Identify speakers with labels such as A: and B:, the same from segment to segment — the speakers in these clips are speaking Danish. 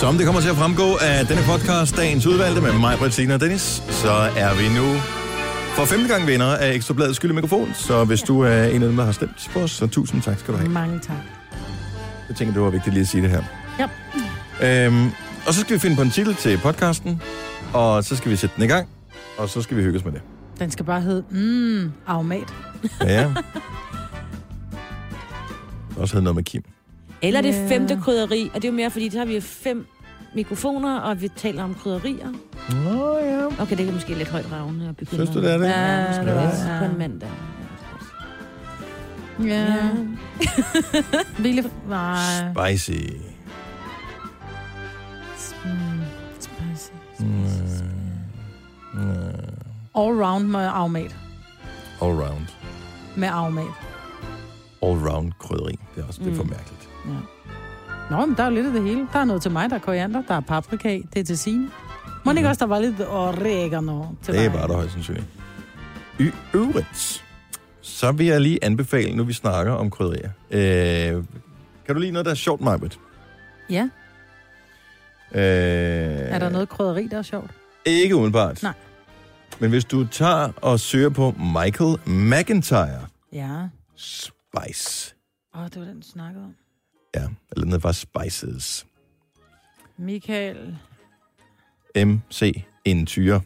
A: Som det kommer til at fremgå af denne podcast, dagens udvalgte med mig, Bettina og Dennis, så er vi nu for femte gang vinder af Ekstrabladets skylde mikrofon. Så hvis du er en af dem, der har stemt på os, så tusind tak skal du have.
B: Mange tak.
A: Jeg tænker, det var vigtigt lige at sige det her.
B: Ja.
A: Øhm, og så skal vi finde på en titel til podcasten, og så skal vi sætte den i gang, og så skal vi hygges med det.
B: Den skal bare hedde, mmm, aromat.
A: Ja, ja. Også havde noget med Kim.
C: Eller det
B: Ja.
C: femte krydderi, og det er jo mere, fordi så har vi fem mikrofoner, og vi taler om krydderier.
A: Nå ja.
C: Okay, det er måske lidt højt ravne at begynde.
A: Synes du, det er det?
C: Ja, måske
A: Ja.
C: også på en mandag.
B: Ja. Ville... Nej.
A: Spicy.
B: Mm, spicy.
A: Mm.
B: Mm. All round med aromat.
A: All round.
B: Med aromat.
A: All round krydderi. Det er også mm. det er for mærkeligt.
B: Ja. Nå, men der er jo lidt af det hele. Der er noget til mig, der er koriander, der er paprika i, det er til sine. Må ikke også, der var lidt oregano til
A: Det
B: dig?
A: var der højst sandsynligt. I øvrigt, så vil jeg lige anbefale, nu vi snakker om krydderier. Øh, kan du lige noget, der er sjovt, Marbet?
B: Ja,
A: Øh,
B: er der noget krydderi, der er sjovt?
A: Ikke umiddelbart.
B: Nej.
A: Men hvis du tager og søger på Michael McIntyre
B: Ja.
A: Spice.
B: Åh, det var den, du snakkede om.
A: Ja, eller den hedder bare Spices.
B: Michael
A: MC Intyre.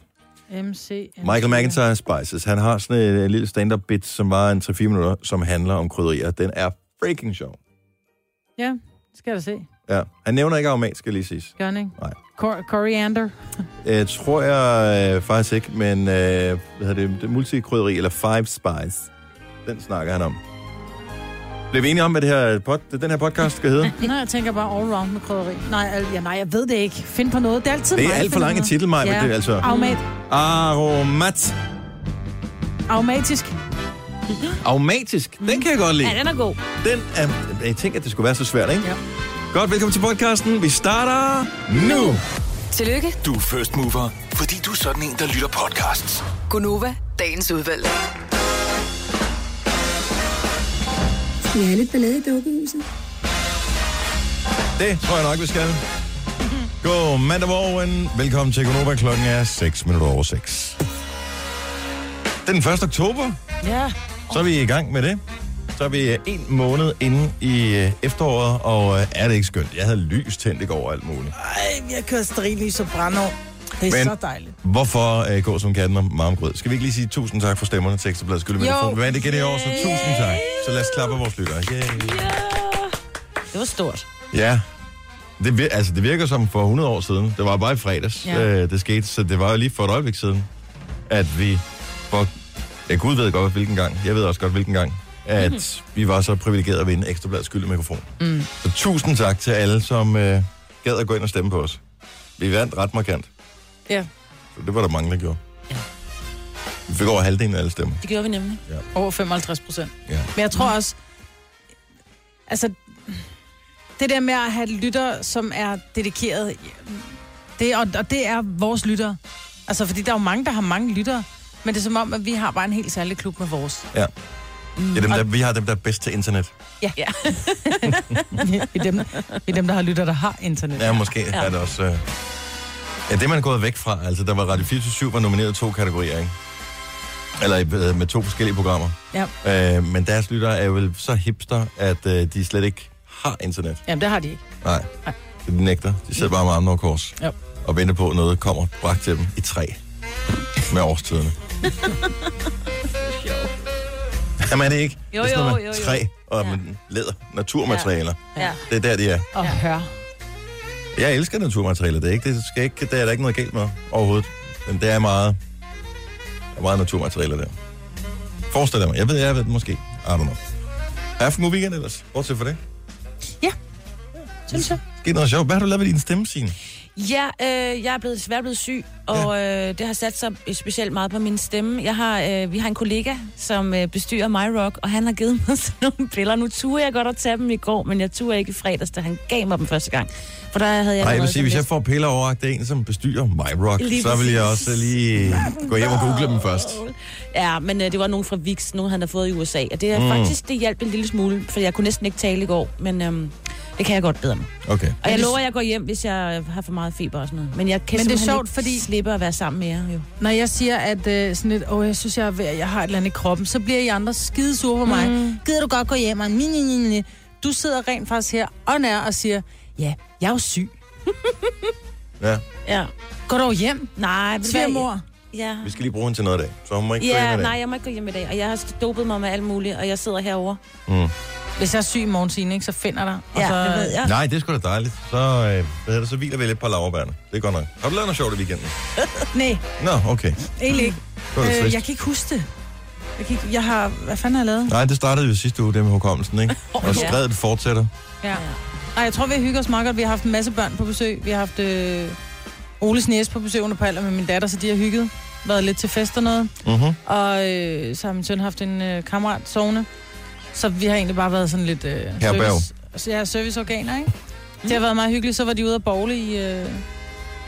B: MC.
A: Michael McIntyre Spices. Han har sådan et, et lille stand-up bit, som var en 3-4 minutter, som handler om krydderier. Den er freaking sjov.
B: Ja, skal jeg da se.
A: Ja. Han nævner ikke aromat, skal lige siges.
B: Gør han ikke?
A: Nej.
B: Cor- coriander.
A: Øh, tror jeg øh, faktisk ikke, men øh, hvad hedder det, det multikrydderi, eller Five Spice, den snakker han om. Blev vi enige om, hvad det her pod, det, den her podcast skal hedde?
B: Nej, jeg tænker bare all round med krydderi. Nej, al- ja, nej, jeg ved det ikke. Find på noget. Det er altid
A: Det er
B: mig,
A: alt for
B: der
A: lang en
B: finder
A: titel, Maja,
B: noget.
A: men det er altså-
B: Aromat.
A: Aromat.
B: Aromatisk.
A: Aromatisk. Den kan jeg godt lide.
C: Ja, den Mm. er god.
A: Den er, jeg tænker, at det skulle være så svært, ikke?
B: Ja.
A: Godt, velkommen til podcasten. Vi starter nu.
D: Tillykke,
E: Du er first mover, fordi du er sådan en, der lytter podcasts.
D: Gunova, dagens udvalgte.
F: Skal vi have lidt ballade i dukkehuset?
A: Det tror jeg nok, vi skal. God mandag morgen. Velkommen til Konoba. Klokken er 6 minutter over 6. Det er den 1. oktober.
B: Ja.
A: Så er vi i gang med det. Så er vi øh, en måned inde i øh, efteråret, og øh, er det ikke skønt? Jeg havde lys tændt i går og alt muligt.
G: Ej, jeg kører sterillys og brænder. Det er
A: Men-
G: Men... så dejligt.
A: Hvorfor øh, gå som katten om marmgrød? Skal vi ikke lige sige tusind tak for stemmerne til Ekstrabladet Skylde
B: Jo.
A: Mikrofon? Vi vandt igen i år, så tusind tak. Så lad os klappe af vores lyttere. Yeah.
C: Det var stort.
A: Ja. Det, vir- altså, det virker som for 100 år siden. Det var bare i fredags, ja.
B: Ja.
A: øh, det skete. Så det var jo lige for et øjeblik siden, at vi... For, ja, Gud ved godt, hvilken gang. Jeg ved også godt, hvilken gang. At mm-hmm. vi var så privilegerede at vinde Ekstrabladets skyld mikrofon. Mm. Så tusind tak til alle, som øh, gad at gå ind og stemme på os. Vi vandt ret markant.
B: Ja.
A: Så det var der mange, der gjorde. Ja. Vi fik over halvdelen af alle stemmer.
C: Det gjorde vi nemlig.
B: Over 55 procent.
A: Ja.
B: Men jeg tror også, altså, det der med at have lytter, som er dedikeret, det, og, og det er vores lytter. Altså, fordi der er jo mange, der har mange lyttere, men det er som om, at vi har bare en helt særlig klub med vores.
A: Ja. Det er dem, der, vi har dem, der er bedst til internet.
B: vi, er dem, vi er dem, der har lytter, der har internet.
A: Ja, måske ja. er det også... Øh... Ja, det er man gået væk fra. Altså, der var Radio 24 var nomineret i to kategorier, ikke? Eller øh, med to forskellige programmer.
B: Ja.
A: Øh, men deres lyttere er vel så hipster, at øh, de slet ikke har internet.
B: Jamen, det har de ikke.
A: Nej.
B: Nej.
A: De nægter. De sidder bare med armene over kors.
B: Ja.
A: Og venter på, at noget kommer bragt til dem i træ. Med årstiderne. Jamen er det ikke?
C: Jo,
A: det er sådan noget
C: jo,
A: med
C: jo, jo.
A: Træ og
C: Ja.
A: ja. læder. Naturmaterialer.
C: Ja.
A: Det er der, de er.
B: Og ja. høre.
A: Jeg elsker naturmaterialer. Det er, ikke, det skal ikke, der er der ikke noget galt med overhovedet. Men det er meget, der er meget naturmaterialer der. Forestil dig mig. Jeg ved, jeg ved det måske. I don't know. Har haft en god weekend ellers? Bortset for det.
B: Synes jeg.
A: Sket noget sjovt. Hvad har du lavet ved din stemme, Signe?
C: Ja, øh, jeg er blevet svært blevet syg, og øh, det har sat sig specielt meget på min stemme. Jeg har, øh, vi har en kollega, som øh, bestyrer MyRock, og han har givet mig sådan nogle piller. Nu turde jeg godt at tage dem i går, men jeg turde ikke i fredags, da han gav mig dem første gang. For der havde jeg
A: Nej, jeg vil
C: allerede
A: sige, hvis jeg
C: sådan
A: får piller over det er en, som bestyrer My Rock,
C: Lige
A: så vil jeg
C: præcis.
A: også lige gå hjem og google dem først.
C: lidt- Ja, men øh, det var nogen fra Vix, nogen han har fået i USA, og det er mm. faktisk, det hjalp en lille smule, for jeg kunne næsten ikke tale i går, men... Øh, Det kan jeg godt bedre med.
A: Okay.
C: Og jeg lover, at jeg går hjem, hvis jeg øh, har for meget feber og sådan noget. Men jeg kan
B: Men det er
C: simpelthen
B: sjovt,
C: ikke
B: fordi-
C: slippe at være sammen med jer, jo.
B: Når jeg siger, at øh, sådan lidt, åh, jeg synes, jeg, er ved- jeg har et eller andet i kroppen, så bliver I andre skide sure på mig. Mm. Gider du godt gå hjem? Og ni, ni, ni, ni. Du sidder rent faktisk her og nær og siger, ja, jeg er jo syg.
A: Ja,
C: Ja.
B: Gå dog hjem,
C: Nej, ved du hvad?
B: svigermor.
C: Ja.
A: vi skal lige bruge hende til noget i dag, så hun må ikke gå
C: Ja,
A: ind i
C: nej,
A: dag.
C: jeg må ikke gå hjem i dag, og jeg har dopet mig med alt muligt, og jeg sidder herovre.
B: Hvis jeg er syg i morgen, Signe, ikke, så finder dig. Og
C: Ja,
B: så,
C: det ved jeg.
A: Nej, det er sgu da dejligt. Så, øh, hvad hedder det, så hviler vi lidt på laverbærene. Det er godt nok. Har du lavet noget sjovt i weekenden?
B: Nej,
A: Nå, okay.
B: egentlig ikke.
A: Det var da
B: Øh,
A: trist.
B: jeg kan ikke huske det. Jeg, kan ikke, jeg har... Hvad fanden har jeg lavet?
A: Nej, det startede jo sidste uge, det med hukommelsen, ikke? Og
C: ja.
A: skrevet fortsætter.
B: Ja. Nej, jeg tror, vi hygger os meget godt. Vi har haft en masse børn på besøg. Vi har haft øh, Oles næse på besøg under på alder med min datter, så de har hygget. Været lidt til fest og noget.
A: Mhm.
B: Og øh, så har min søn haft en øh, kammerat sovende. Så vi har egentlig bare været sådan lidt... Øh,
A: Herberg.
B: service, ja, serviceorganer, ikke? Det har været meget hyggeligt. Så var de ude at bowle i, øh,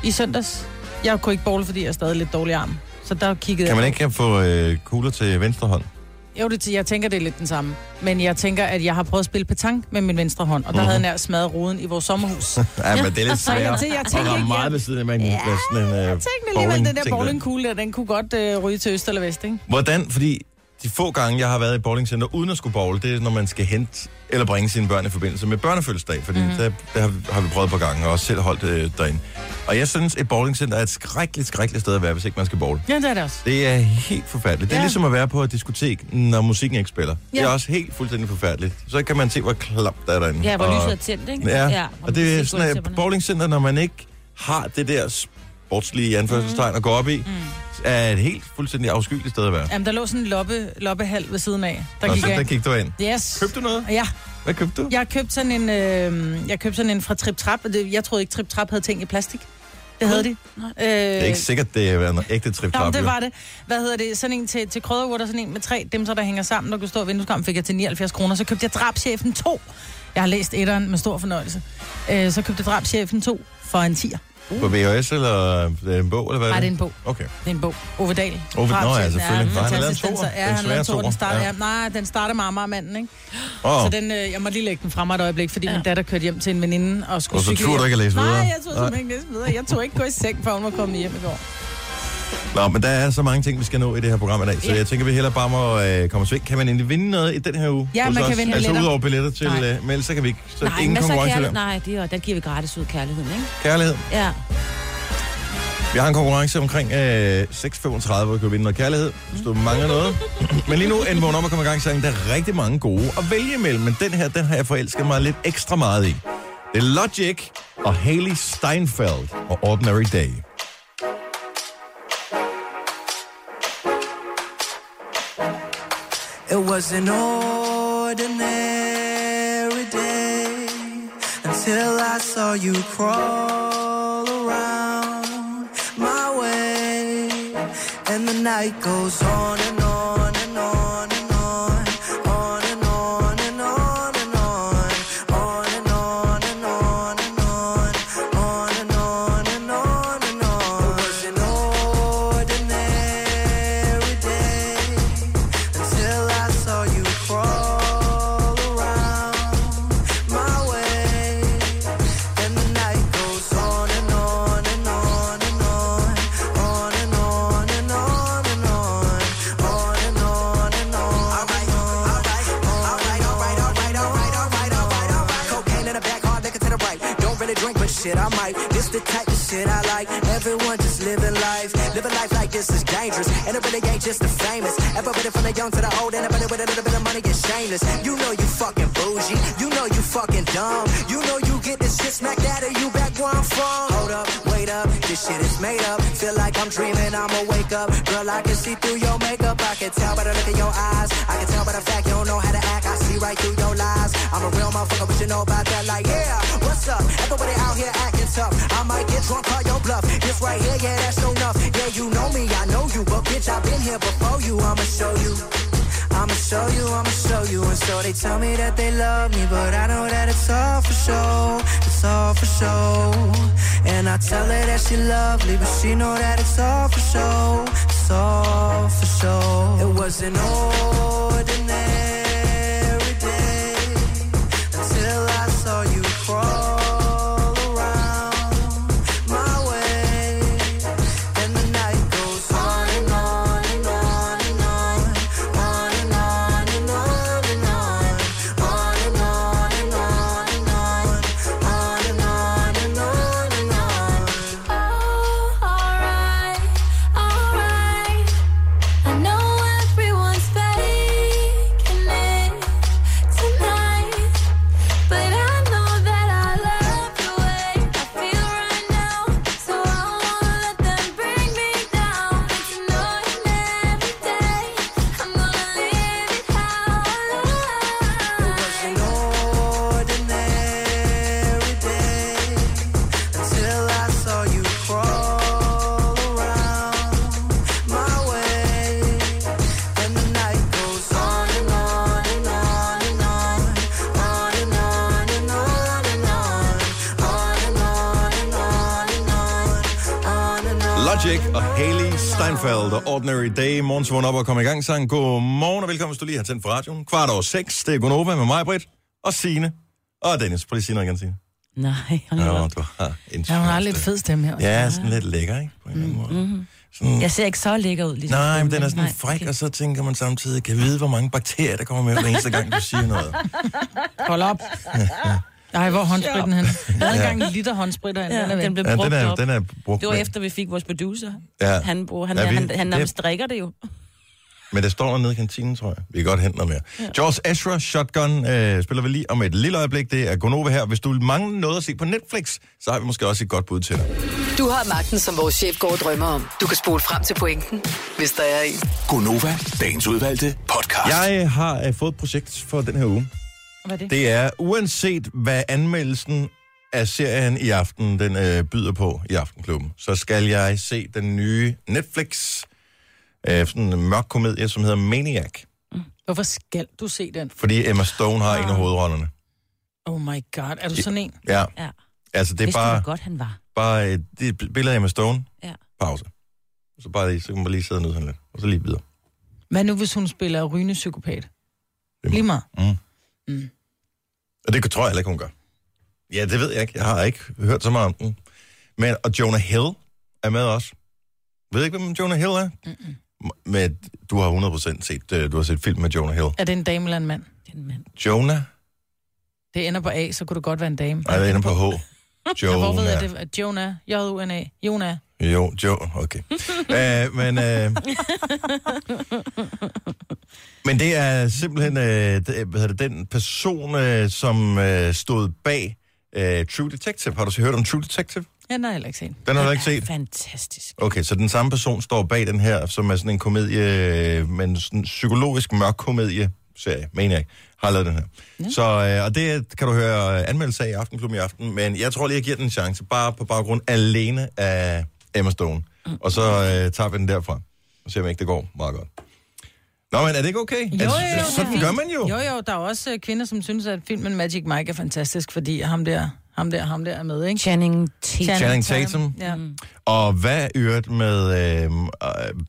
B: i søndags. Jeg kunne ikke bowle, fordi jeg er stadig lidt dårlig arm. Så der kiggede
A: Kan man
B: jeg-
A: ikke få øh, kugler til venstre hånd?
B: Jo, det, jeg tænker, det er lidt den samme. Men jeg tænker, at jeg har prøvet at spille petanque med min venstre hånd, og der mm-hmm.
A: Mhm.
B: havde jeg nær smadret ruden i vores sommerhus.
A: Ja, men det er lidt
B: Så jeg
A: svært.
B: tænkte, jeg
A: Og
B: tænkte
A: der er
B: ikke,
A: meget
B: jeg,
A: ved siden af, man kan ja, sådan en øh,
B: tænkte alligevel, den der
A: bowling-ting der.
B: bowlingkugle, der, den kunne godt øh, ryge til øst eller vest, ikke?
A: Hvordan? Fordi de få gange, jeg har været i bowlingcenter uden at skulle bowle, det er, når man skal hente eller bringe sine børn i forbindelse med børnefødselsdag, fordi
C: Mhm.
A: mm. der, der har, har vi prøvet på gange og også selv holdt øh, derinde. Og jeg synes, et bowlingcenter er et skrækkeligt, skrækkeligt sted at være, hvis ikke man skal bowle.
B: Ja, det er det også.
A: Det er helt forfærdeligt. Det er
B: Ja.
A: ligesom at være på et diskotek, når musikken ikke spiller. Ja. Det er
B: Ja.
A: også helt fuldstændig forfærdeligt. Så kan man se, hvor klap der er derinde.
C: Ja, hvor
A: Og-
C: lyset er tændt, ikke?
A: Ja, ja
C: hvor
A: og
C: man
A: det er
C: kan se
A: sådan, at
C: gulvtæpperne.
A: bowlingcenter, når man ikke har det der sportslige i anførselstegn
C: Mhm.
A: mm. at gå op i, mm. er et helt fuldstændig afskyeligt sted at være.
B: Jamen, der lå sådan en loppe, loppehal ved siden af. Der
A: Nå,
B: gik
A: så der
B: af.
A: gik du ind.
B: Yes.
A: Købte du noget?
B: Ja,
A: Hvad købte du?
B: jeg købte sådan en, øh, jeg købte sådan en fra Trip Trap. og det- Jeg troede ikke, Trip Trap havde ting i plastik. Det havde de. Øh,
A: Det er ikke sikkert, det er en ægte trip
B: Nå, men det var det. Hvad hedder det? Sådan en til, til krydderurter, sådan en med tre dimser, der hænger sammen, der kunne stå i vindueskampen, fik jeg til 79 kroner. Så købte jeg drabschefen 2. Jeg har læst etteren med stor fornøjelse. Øh, så købte jeg drabschefen 2 for en 10'er.
A: På VHS eller øh, en bog, eller hvad
B: Nej, det er en bog.
A: Okay.
B: Det er en bog. Ove Dahl.
A: Ove- Nå, ja,
B: Drabschefen
A: selvfølgelig. Nå, han har lavet en
B: fantastisk. Den
A: toer.
B: så-
A: Den
B: Ja, han har
A: svære
B: lavet to,
A: toer.
B: den starter,
A: Ja.
B: ja. Nej, den starter med Amagermanden, ikke?
A: Oh.
B: Så den, øh, jeg må lige lægge den frem et øjeblik, fordi ja. min datter kørte hjem til en veninde og skulle
A: Og så
B: cykle
A: turde
B: hjem.
A: du ikke at læse
B: Nej,
A: videre?
B: Nej, jeg turde simpelthen ikke læse videre. Jeg tog ikke gå i seng, før hun var kommet hjem i går.
A: Nå, men der er så mange ting, vi skal nå i det her program i dag, så jeg tænker, vi heller bare må øh, komme sving. Kan man endelig vinde noget i den her uge?
B: Ja,
A: hos
B: man kan
A: os?
B: vinde
A: Altså
B: billetter.
A: udover billetter til,
C: Nej.
A: øh, men ellers så kan vi ikke. Så
C: Nej,
A: ingen
C: masser af
A: konkurrence
C: kærlighed.
A: der.
C: Nej, det er, der giver vi gratis ud kærligheden, ikke?
A: Kærlighed.
C: Ja.
A: Vi har en konkurrence omkring øh, 6.35, hvor du kan vinde noget kærlighed, hvis du mangler noget. men lige nu en vågn om at komme i gang, så der er rigtig mange gode at vælge imellem, men den her, den har jeg forelsket mig lidt ekstra meget i. Det er Logic og Haley Steinfeld og Ordinary Day.
G: It was an ordinary day until I saw you crawl around my way. And the night goes on and on and on and on, on and on and on and on, on and on and on and on, on and on and on and on. It was an ordinary day until I saw you crawl around my way. And the night goes on and on and on and on, on and on and on and on, on and on and on. All right, all right, all right, all right, all right, all right, all right, all right, all right. Cocaine in the back, hard liquor to the right. Don't really drink, but shit, I might. This the type of shit I like. Everyone just living life, living life like this is dangerous, and it really ain't just the famous. Everybody from the young to the old, and everybody with a little bit of money is shameless. You know you fucking bougie, you know you fucking dumb, you know you get this shit smacked out of you back where I'm from. Hold up, wait up, this shit is made up. Feel like I'm dreaming, I'ma wake up, girl. I can see through your makeup, I can tell by the look in your eyes, I can tell by the fact you don't know how to act. I see right through your lies. I'm a real motherfucker, but you know about that. Like, yeah, what's up? Everybody out here acting tough. I might get drunk, call your bluff. This right here, yeah, that's no enough. Yeah, you know me, I know you, but bitch, I've been here before you. I'ma show you. I'ma show you, I'ma show you. And so they tell me that they love me, but I know that it's all for show. It's all for show. And I tell her that she lovely, but she know that it's all for show. It's all for show. It was an ordinary day until I saw you.
A: Jack og Haley Steinfeld og Ordinary Day. Morgens vågn op og kom i gang sang. Godmorgen og velkommen, hvis du lige har tændt for radioen. Kvart over seks. Det er Gunova med mig, Britt, og Signe og Dennis. Prøv lige at sige noget igen, Signe.
C: Nej, hold nu
A: Ja,
C: op.
A: du har en
B: Ja, hun har
A: smuk
B: lidt
A: stemme.
B: fed stemme her.
A: Ja, sådan lidt lækker, ikke? På en eller anden måde.
C: Jeg ser ikke så lækker ud. Ligesom
A: Nej, men den er sådan
C: Nej,
A: fræk,
C: okay.
A: og så tænker man samtidig, kan jeg vide, hvor mange bakterier, der kommer med hver eneste gang, du siger noget.
B: Hold op. Ej, hvor er håndspritten hen? Jeg havde engang en liter håndspritter, ja, den er
C: Ja,
B: væk.
C: den blev
A: Ja,
C: brugt
A: den er,
C: op.
A: den er brugt.
C: Det var
A: men-
C: efter, vi fik vores producer.
A: Ja.
C: Han, bruger, han,
A: Ja,
C: ja,
A: vi-
C: han, han, nærmest
A: det-
C: drikker det jo.
A: Men det står nede i kantinen, tror jeg. Vi kan godt hente noget mere. Ja. George Ezra, Shotgun, øh, spiller vi lige om et lille øjeblik. Det er Gonova her. Hvis du mangler noget at se på Netflix, så har vi måske også et godt bud til dig.
D: Du har magten, som vores chef går og drømmer om. Du kan spole frem til pointen, hvis der er en.
E: Gonova, dagens udvalgte podcast.
A: Jeg har øh, fået et projekt for den her uge.
B: Hvad er det?
A: Det er, uanset hvad anmeldelsen af serien i aften, den øh, byder på i Aftenklubben, så skal jeg se den nye Netflix, øh, sådan en mørk komedie, som hedder Maniac.
B: Hvorfor skal du se den?
A: Fordi Emma Stone har
C: Ah.
A: en af hovedrollerne.
B: Oh my god, er du sådan en?
A: Ja,
C: Ja.
A: altså det
C: Det
A: er
C: Vidste
A: bare...
C: du, hvor godt han var.
A: bare øh, det er et billede af Emma Stone.
C: Ja.
A: Pause. Så, bare lige, så kan man bare lige sidde og nyde hende lidt. Og så lige videre.
B: Hvad nu, hvis hun spiller rygende psykopat?
A: må-
B: Lige meget.
A: Og det tror jeg heller ikke, hun gør. Ja, det ved jeg ikke. Jeg har ikke hørt så meget om den. Men, og Jonah Hill er med også. Ved ikke, hvem Jonah Hill er? Mm-mm. Men du har 100% set, øh, du har set film med Jonah Hill.
B: Er det en dame eller en mand?
C: Den mand.
A: Jonah?
B: Det ender på A, så kunne det godt være en dame.
A: Nej, det ender på H.
B: Ja, Hvor ved jeg
A: Jonah.
B: det? At Jonah, J-U-N-A, Jonah.
A: Jo, jo, okay. Æh, men, øh, men det er simpelthen øh, det, hvad hedder det, den person, øh, som øh, stod bag øh, True Detective. Har du så hørt om True Detective?
B: Ja, nej, heller ikke set.
A: Den har du
C: Den
A: ikke
C: er
A: set?
C: Fantastisk.
A: Okay, så den samme person står bag den her, som er sådan en komedie, øh, men sådan en psykologisk mørk komedie serie, mener jeg, har lavet den her. Ja. Så, øh, og det kan du høre øh, anmeldelse af i Aftenklubben i aften, men jeg tror lige, jeg giver den en chance, bare på baggrund alene af Emma Stone. Mm. Og så øh, tager vi den derfra, og ser om ikke det går meget godt. Nå, men er det ikke okay?
B: Jo, jo, jo,
A: sådan
B: det er
A: gør
B: fint.
A: man jo.
B: Jo, jo, der er også øh, kvinder, som synes, at filmen Magic Mike er fantastisk, fordi ham der, ham der, ham der er med, ikke?
C: Channing Tatum.
A: Channing Tatum.
B: Ja.
A: Og hvad i øvrigt med øh, øh,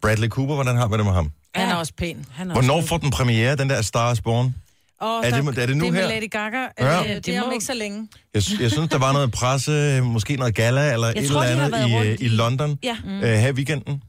A: Bradley Cooper? Hvordan har man det med ham?
B: Han er
C: Ja.
B: også pæn.
C: Han er også
A: Hvornår
C: med.
A: får den premiere, den der Star is Born?
B: Og
A: Er
B: der-
A: det- er det nu
B: Det
A: her?
B: er med Lady Gaga.
A: Ja.
B: Ja. Øh, det
C: Det
B: er om
C: må-
B: ikke så længe.
A: Jeg, sy- jeg synes, der var noget presse, måske noget gala eller jeg et
C: tror, de
A: eller
C: har
A: andet
C: været
A: i, øh,
C: rundt
A: i
C: i-
A: London
C: Ja.
A: øh, her i weekenden.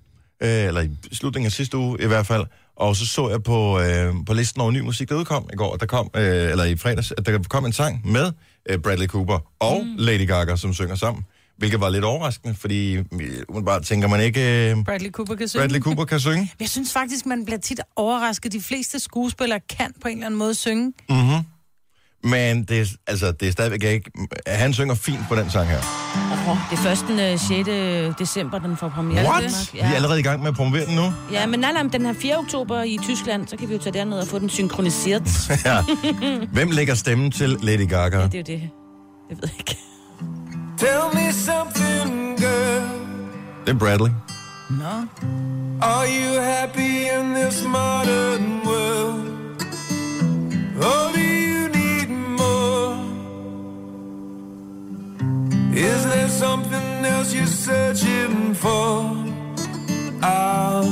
A: Øh, eller i slutningen af sidste uge i hvert fald. Og så så jeg på, øh, på listen over ny musik, der udkom i går, at der kom, øh, eller i fredags, at der kom en sang med øh, Bradley Cooper og mm. Lady Gaga, som synger sammen. Hvilket var lidt overraskende, fordi øh, umiddelbart tænker man ikke, øh,
B: Bradley Cooper kan synge.
A: Bradley Cooper kan synge.
B: Jeg synes faktisk, man bliver tit overrasket. De fleste skuespillere kan på en eller anden måde synge.
A: Men det, er- altså, det er stadigvæk ikke... Han synger fint på den sang her.
C: Det er først den øh, 6. december, den får premiere. i
A: What?
C: Danmark.
A: Vi er
C: Ja.
A: allerede i gang med at promovere den nu.
C: ja, men nej, nej, men den her 4. oktober i Tyskland, så kan vi jo tage derned og få den synkroniseret. det
A: Ja. Hvem lægger stemmen til Lady Gaga?
C: er jo det. Jeg ved ikke.
G: Tell me something, girl.
A: Det er Bradley.
B: Nå.
G: Are you happy in this modern world? Or do you need more? Is there something else you're searching for? Out.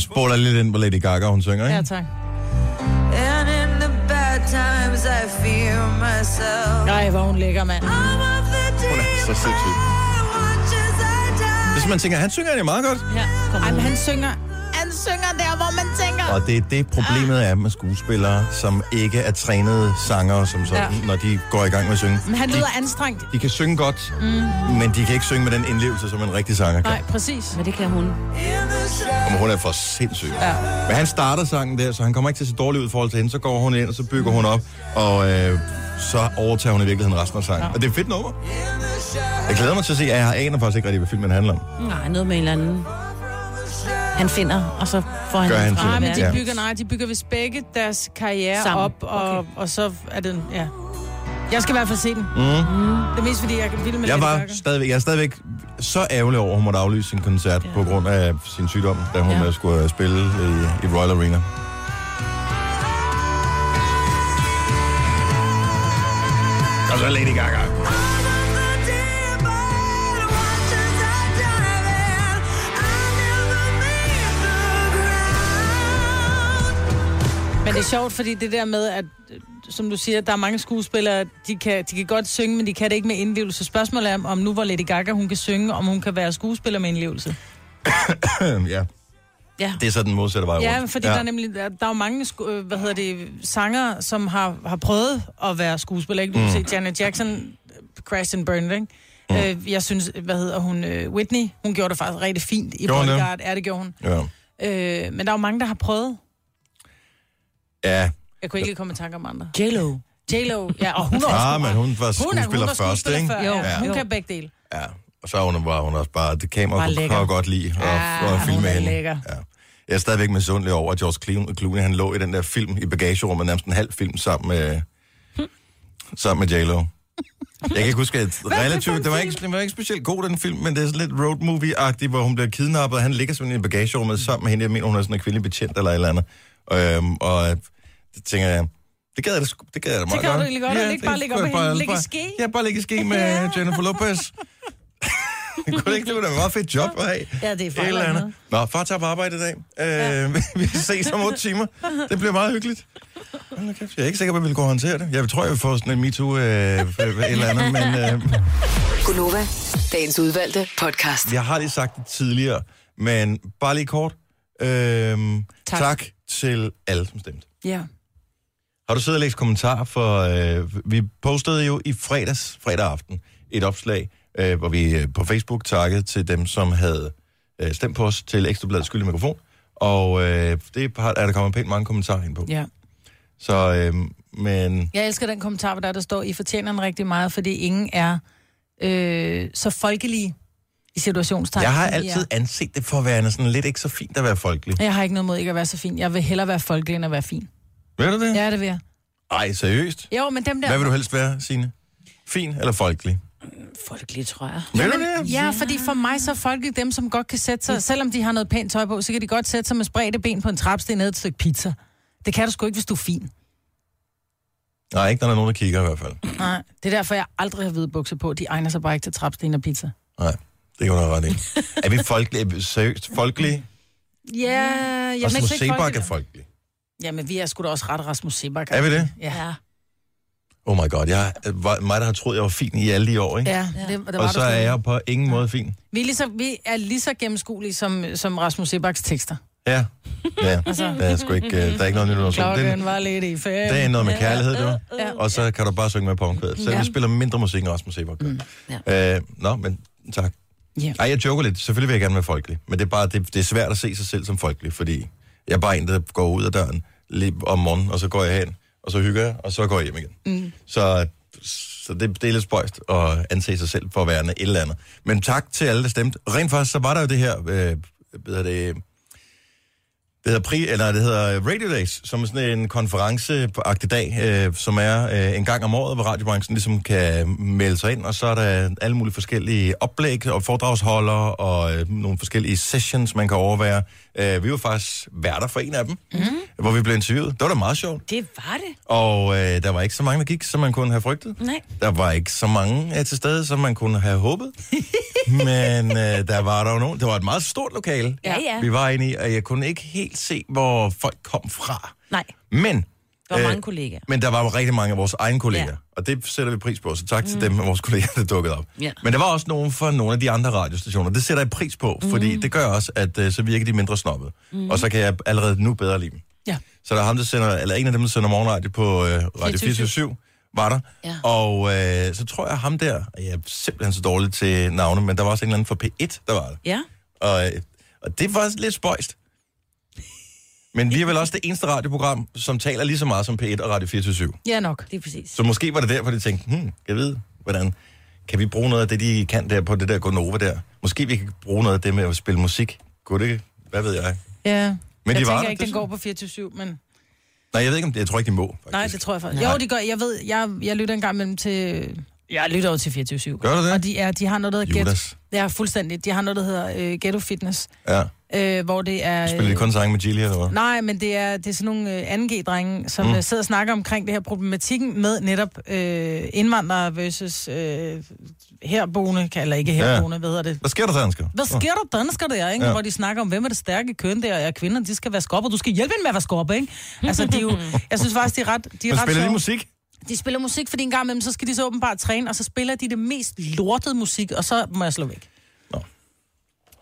A: Spoler lidt ind på Lady Gaga, hun synger,
B: Ja,
A: ikke?
B: tak.
H: And in the bad times, I fear myself.
B: Nej, hvor hun lækker, mand.
H: I'm of the
A: Hun er så sindssyg.
H: I watch as I die.
A: Hvis man tænker, han synger det meget godt.
C: Her
B: Ej,
C: kommer
B: men
C: den.
B: han synger. Han synger der, hvor man tænker.
A: Og det er det, problemet er med skuespillere, som ikke er trænede sanger, som sådan, ja.
B: Ja.
A: når de går i gang med at synge.
B: Men han
A: de,
B: lyder anstrengt.
A: de kan synge godt, mm. men de kan ikke synge med den indlevelse, som en rigtig sanger kan.
B: Nej, præcis.
C: Men det kan hun.
A: Og hun er for sindssyg. Ja. Men han starter sangen der, så han kommer ikke til at se dårlig ud i forhold til hende. Så går hun ind, og så bygger hun op, og øh, så overtager hun i virkeligheden resten af sangen. Ja. Og det er et fedt nummer. Jeg glæder mig til at se, at jeg aner faktisk ikke rigtig, hvad filmen handler om.
C: Nej, noget med en eller anden. Han finder, og så får han
A: Gør han
C: den
A: til.
C: fra.
B: Nej, men
A: Ja.
B: de bygger, nej, de bygger vist begge deres karriere
C: Sammen.
B: op, og, okay. og så er den, ja. Jeg skal i hvert fald se den. Mm. Det er mest, fordi jeg kan vilde med
A: Jeg
B: Lady
A: var
B: Gaga.
A: stadigvæk, jeg er stadigvæk så ærgerlig over, at hun måtte aflyse sin koncert ja. på grund af sin sygdom, da hun ja.
C: Ja.
A: skulle øh, spille i, i Royal Arena. Og så Lady Gaga.
H: I'm of the deep end, watch as I dive in. I
B: Men det er sjovt, fordi det der med, at øh, som du siger, der er mange skuespillere, de kan, de kan godt synge, men de kan det ikke med indlevelse. Spørgsmålet er, om nu hvor Lady Gaga, hun kan synge, om hun kan være skuespiller med indlevelse.
A: ja,
C: Ja.
A: det er så den modsatte vej rundt.
B: Ja, fordi ja. der er nemlig, der der er jo mange, sku- øh, hvad hedder det, sanger, som har, har prøvet at være skuespiller, ikke? Du kan
A: Mm.
B: se Janet Jackson, øh, Crash and Burn, ikke? Mm. Øh, jeg synes, hvad hedder hun, øh, Whitney, hun gjorde det faktisk rigtig fint i
A: Gjorde hun det?
B: Bodyguard. Ja, det gjorde hun.
A: Ja.
B: Øh, men der er jo mange, der har prøvet.
A: ja.
B: Jeg kunne ikke lige komme i tanke om andre.
C: J-Lo.
B: J-Lo, ja, og hun var også
A: Ah, men hun var
B: Hun er,
A: skuespiller,
B: hun var
A: først,
B: skuespiller
A: ikke?
B: før,
C: Jo,
B: ja. Hun
C: jo.
B: kan begge dele.
A: Ja, og så er hun, var hun også bare, det kamera
B: Bare
A: kunne,
B: lækker.
A: kunne godt lide at,
B: Ja,
A: ja, at
B: hun
A: filme
B: er
A: hende.
B: lækker.
A: Ja. Jeg er stadigvæk misundelig over, at George Clooney- Clooney, han lå i den der film i bagagerummet, nærmest en halv film sammen med, sammen med J-Lo. Jeg kan ikke huske, at relativt, det var, ikke, det var ikke specielt god, den film, men det er sådan lidt road movie-agtigt, hvor hun bliver kidnappet, og han ligger simpelthen i bagagerummet sammen med hende. Jeg mener, hun er sådan en kvindelig betjent eller et eller andet. Øhm, og det tænker jeg, det gad jeg da, sgu- det gad jeg da meget
B: gad du
A: godt.
B: egentlig godt, at ligge- bare ligge op
A: kunne
B: ad
A: jeg
B: hende. Ligge i ske.
A: Ja, bare ligge i ske med
B: Ja.
A: Jennifer Lopez. Kunne det ikke blive et meget fedt job at have?
B: Ja, det er
A: Et
B: fejl
A: eller
B: eller
A: andet. Nå, far tager på arbejde i dag. Øh, vi ses om otte timer. Det bliver meget hyggeligt. Hold da kæft, Jeg er ikke sikker på, at vi vil kunne håndtere det. Jeg tror, jeg vil få sådan en MeToo øh, et eller andet, men øh,
D: Gunova, dagens udvalgte podcast.
A: jeg har lige sagt det tidligere. Men bare lige kort. Øh, tak.
B: Tak.
A: tak til alle, som stemte.
B: Ja.
A: Har du siddet og læst kommentarer? For øh, vi postede jo i fredags, fredag aften, et opslag, øh, hvor vi øh, på Facebook takkede til dem, som havde øh, stemt på os til Ekstrabladets skyldig mikrofon. Og øh, det har- er der kommet pænt mange kommentarer ind på.
B: ja.
A: Så, øh, men
B: Jeg elsker den kommentar, hvor der, der står, I fortjener den rigtig meget, fordi ingen er øh, så folkelige i situationstegn.
A: jeg har
B: som I er.
A: altid anset det for at være sådan lidt ikke så fint at være folkelig.
B: Jeg har ikke noget mod ikke at være så fin. Jeg vil hellere være folkelig, end at være fin.
A: Ved du det?
B: Ja, det vil jeg.
A: Ej, seriøst?
B: Jo, men dem der...
A: Hvad vil du helst være, Signe? Fin eller folkelig?
C: Folkelig, tror jeg.
A: Ved du
B: Men,
A: det?
B: ja, fordi for mig så er folkelig dem, som godt kan sætte
A: Mm.
B: sig, selvom de har noget pænt tøj på, så kan de godt sætte sig med spredte ben på en trapsten ned et stykke pizza. Det kan du sgu ikke, hvis du er fin.
A: Nej, ikke når der er nogen, der kigger i hvert fald.
B: Nej, det er derfor, jeg aldrig har hvide bukser på. De egner sig bare ikke til trapsten og pizza.
A: Nej, det kan du have ret i. Er vi folkelige? Er vi seriøst folkelige?
B: Ja, jeg
A: Og Rasmus Sebak er folkelig.
B: Jamen, vi er sgu da også ret Rasmus Sebak.
A: Er vi det?
B: Ja.
A: Oh my god, jeg var mig, der har troet, jeg var fin i alle de år, ikke?
B: Ja, det, det var
A: og
B: du
A: så er
B: slet ikke.
A: jeg på ingen måde fin.
B: Vi er, lige så, vi er lige så gennemskuelige som, som Rasmus Sebaks tekster.
A: Ja, ja. Der er sgu ikke, øh, der er ikke noget nyt under solen. Det,
B: Klokken
A: er-
B: var lidt i fem.
A: det er noget med kærlighed, du.
B: Ja.
A: Og så kan du bare synge med på omkvædet. Så
B: Ja.
A: vi spiller mindre musik end Rasmus Sebak. Mm. Øh, nå, men tak.
B: Ja.
A: Ej, jeg joker lidt. Selvfølgelig vil jeg gerne være folkelig. Men det er bare det, det er svært at se sig selv som folkelig, fordi jeg er bare en, der går ud af døren lige om morgenen, og så går jeg hen, og så hygger jeg, og så går jeg hjem igen. Mm. Så, så det, det er lidt spøjst at anse sig selv for at være et eller andet. Men tak til alle, der stemte. Rent faktisk, så var der jo det her, øh, hvad hedder det, det hedder, pri, eller det hedder Radio Days, som er sådan en konferenceagtig dag, øh, som er øh, en gang om året, hvor radiobranchen ligesom kan melde sig ind, og så er der alle mulige forskellige oplæg og foredragsholdere og øh, nogle forskellige sessions, man kan overvære. Øh, vi var faktisk værter for en af dem, mm. hvor vi blev interviewet. Det var da meget sjovt.
C: Det var det.
A: Og øh, der var ikke så mange, der gik, som man kunne have frygtet.
C: Nej.
A: Der var ikke så mange af til stede, som man kunne have håbet. Men øh, der var der jo nogen. Det var et meget stort lokale,
C: Ja, ja.
A: vi var inde i, og jeg kunne ikke helt se, hvor folk kom fra.
C: Nej,
A: Men,
C: der var
A: Øh,
C: mange kollegaer.
A: men der var jo rigtig mange af vores egne kolleger,
C: Ja. Mm.
A: og det sætter vi pris på, så tak til dem af vores kolleger, der dukkede op.
C: Ja.
A: Men der var også nogen fra nogle af de andre radiostationer. Det sætter jeg pris på, fordi
C: Mm.
A: det gør også, at øh, så virker de mindre snobbede. Mm. Og så kan jeg allerede nu bedre lide dem.
B: Ja.
A: Så der er ham, der sender, eller en af dem, der sender morgenradio på øh, Radio 427, var der.
C: Ja.
A: Og øh, så tror jeg, ham der, og jeg er simpelthen så dårlig til navne, men der var også en eller anden fra P1, der var der.
C: Ja.
A: Og, øh, og det var lidt spøjst. Men vi er vel også det eneste radioprogram, som taler lige så meget som P1 og Radio 427.
B: Ja, nok.
C: Lige præcis.
A: Så måske var det derfor, de tænkte, hmm, jeg ved, hvordan kan vi bruge noget af det, de kan der på det der Gonova der? Måske vi kan bruge noget af det med at spille musik. Kunne det? Hvad ved jeg?
B: Ja.
A: Men
B: jeg
A: de var
B: tænker
A: der,
B: ikke,
A: det
B: den
A: synes
B: går på 24-7, men...
A: Nej, jeg ved ikke, om det, jeg tror ikke, de må. Faktisk.
B: Nej, det tror jeg faktisk. Jo, det gør jeg. ved, jeg, jeg lytter en gang imellem til... Jeg lytter jo til 24-7.
A: Gør du det?
B: Og de, er, de har noget, der hedder
A: Judas.
B: Ja, fuldstændig. De har noget, der hedder øh, Ghetto Fitness,
A: Ja.
B: øh, hvor det er... Øh,
A: Spiller de kun sange med Gilly, eller hvad?
B: Nej, men det er, det er sådan nogle øh, 2G-drenge, som mm. sidder og snakker omkring det her problematikken med netop øh, indvandrere versus øh, herboende, kan- eller ikke herboende, ja. hvad hedder det?
A: Hvad sker der, dansker?
B: Hvad sker der dansker der, ikke?
A: Ja.
B: Ja. Hvor de snakker om, hvem er det stærke køn der, og ja, kvinder, de skal vaske op, og du skal hjælpe hende med at vaske op, ikke? Altså, de er jo, jeg synes faktisk, de er ret, de er
A: Men
B: ret
A: spiller de
B: sjove.
A: musik?
B: De spiller musik, fordi en gang imellem, så skal de så åbenbart træne, og så spiller de det mest lortede musik, og så må jeg slå væk.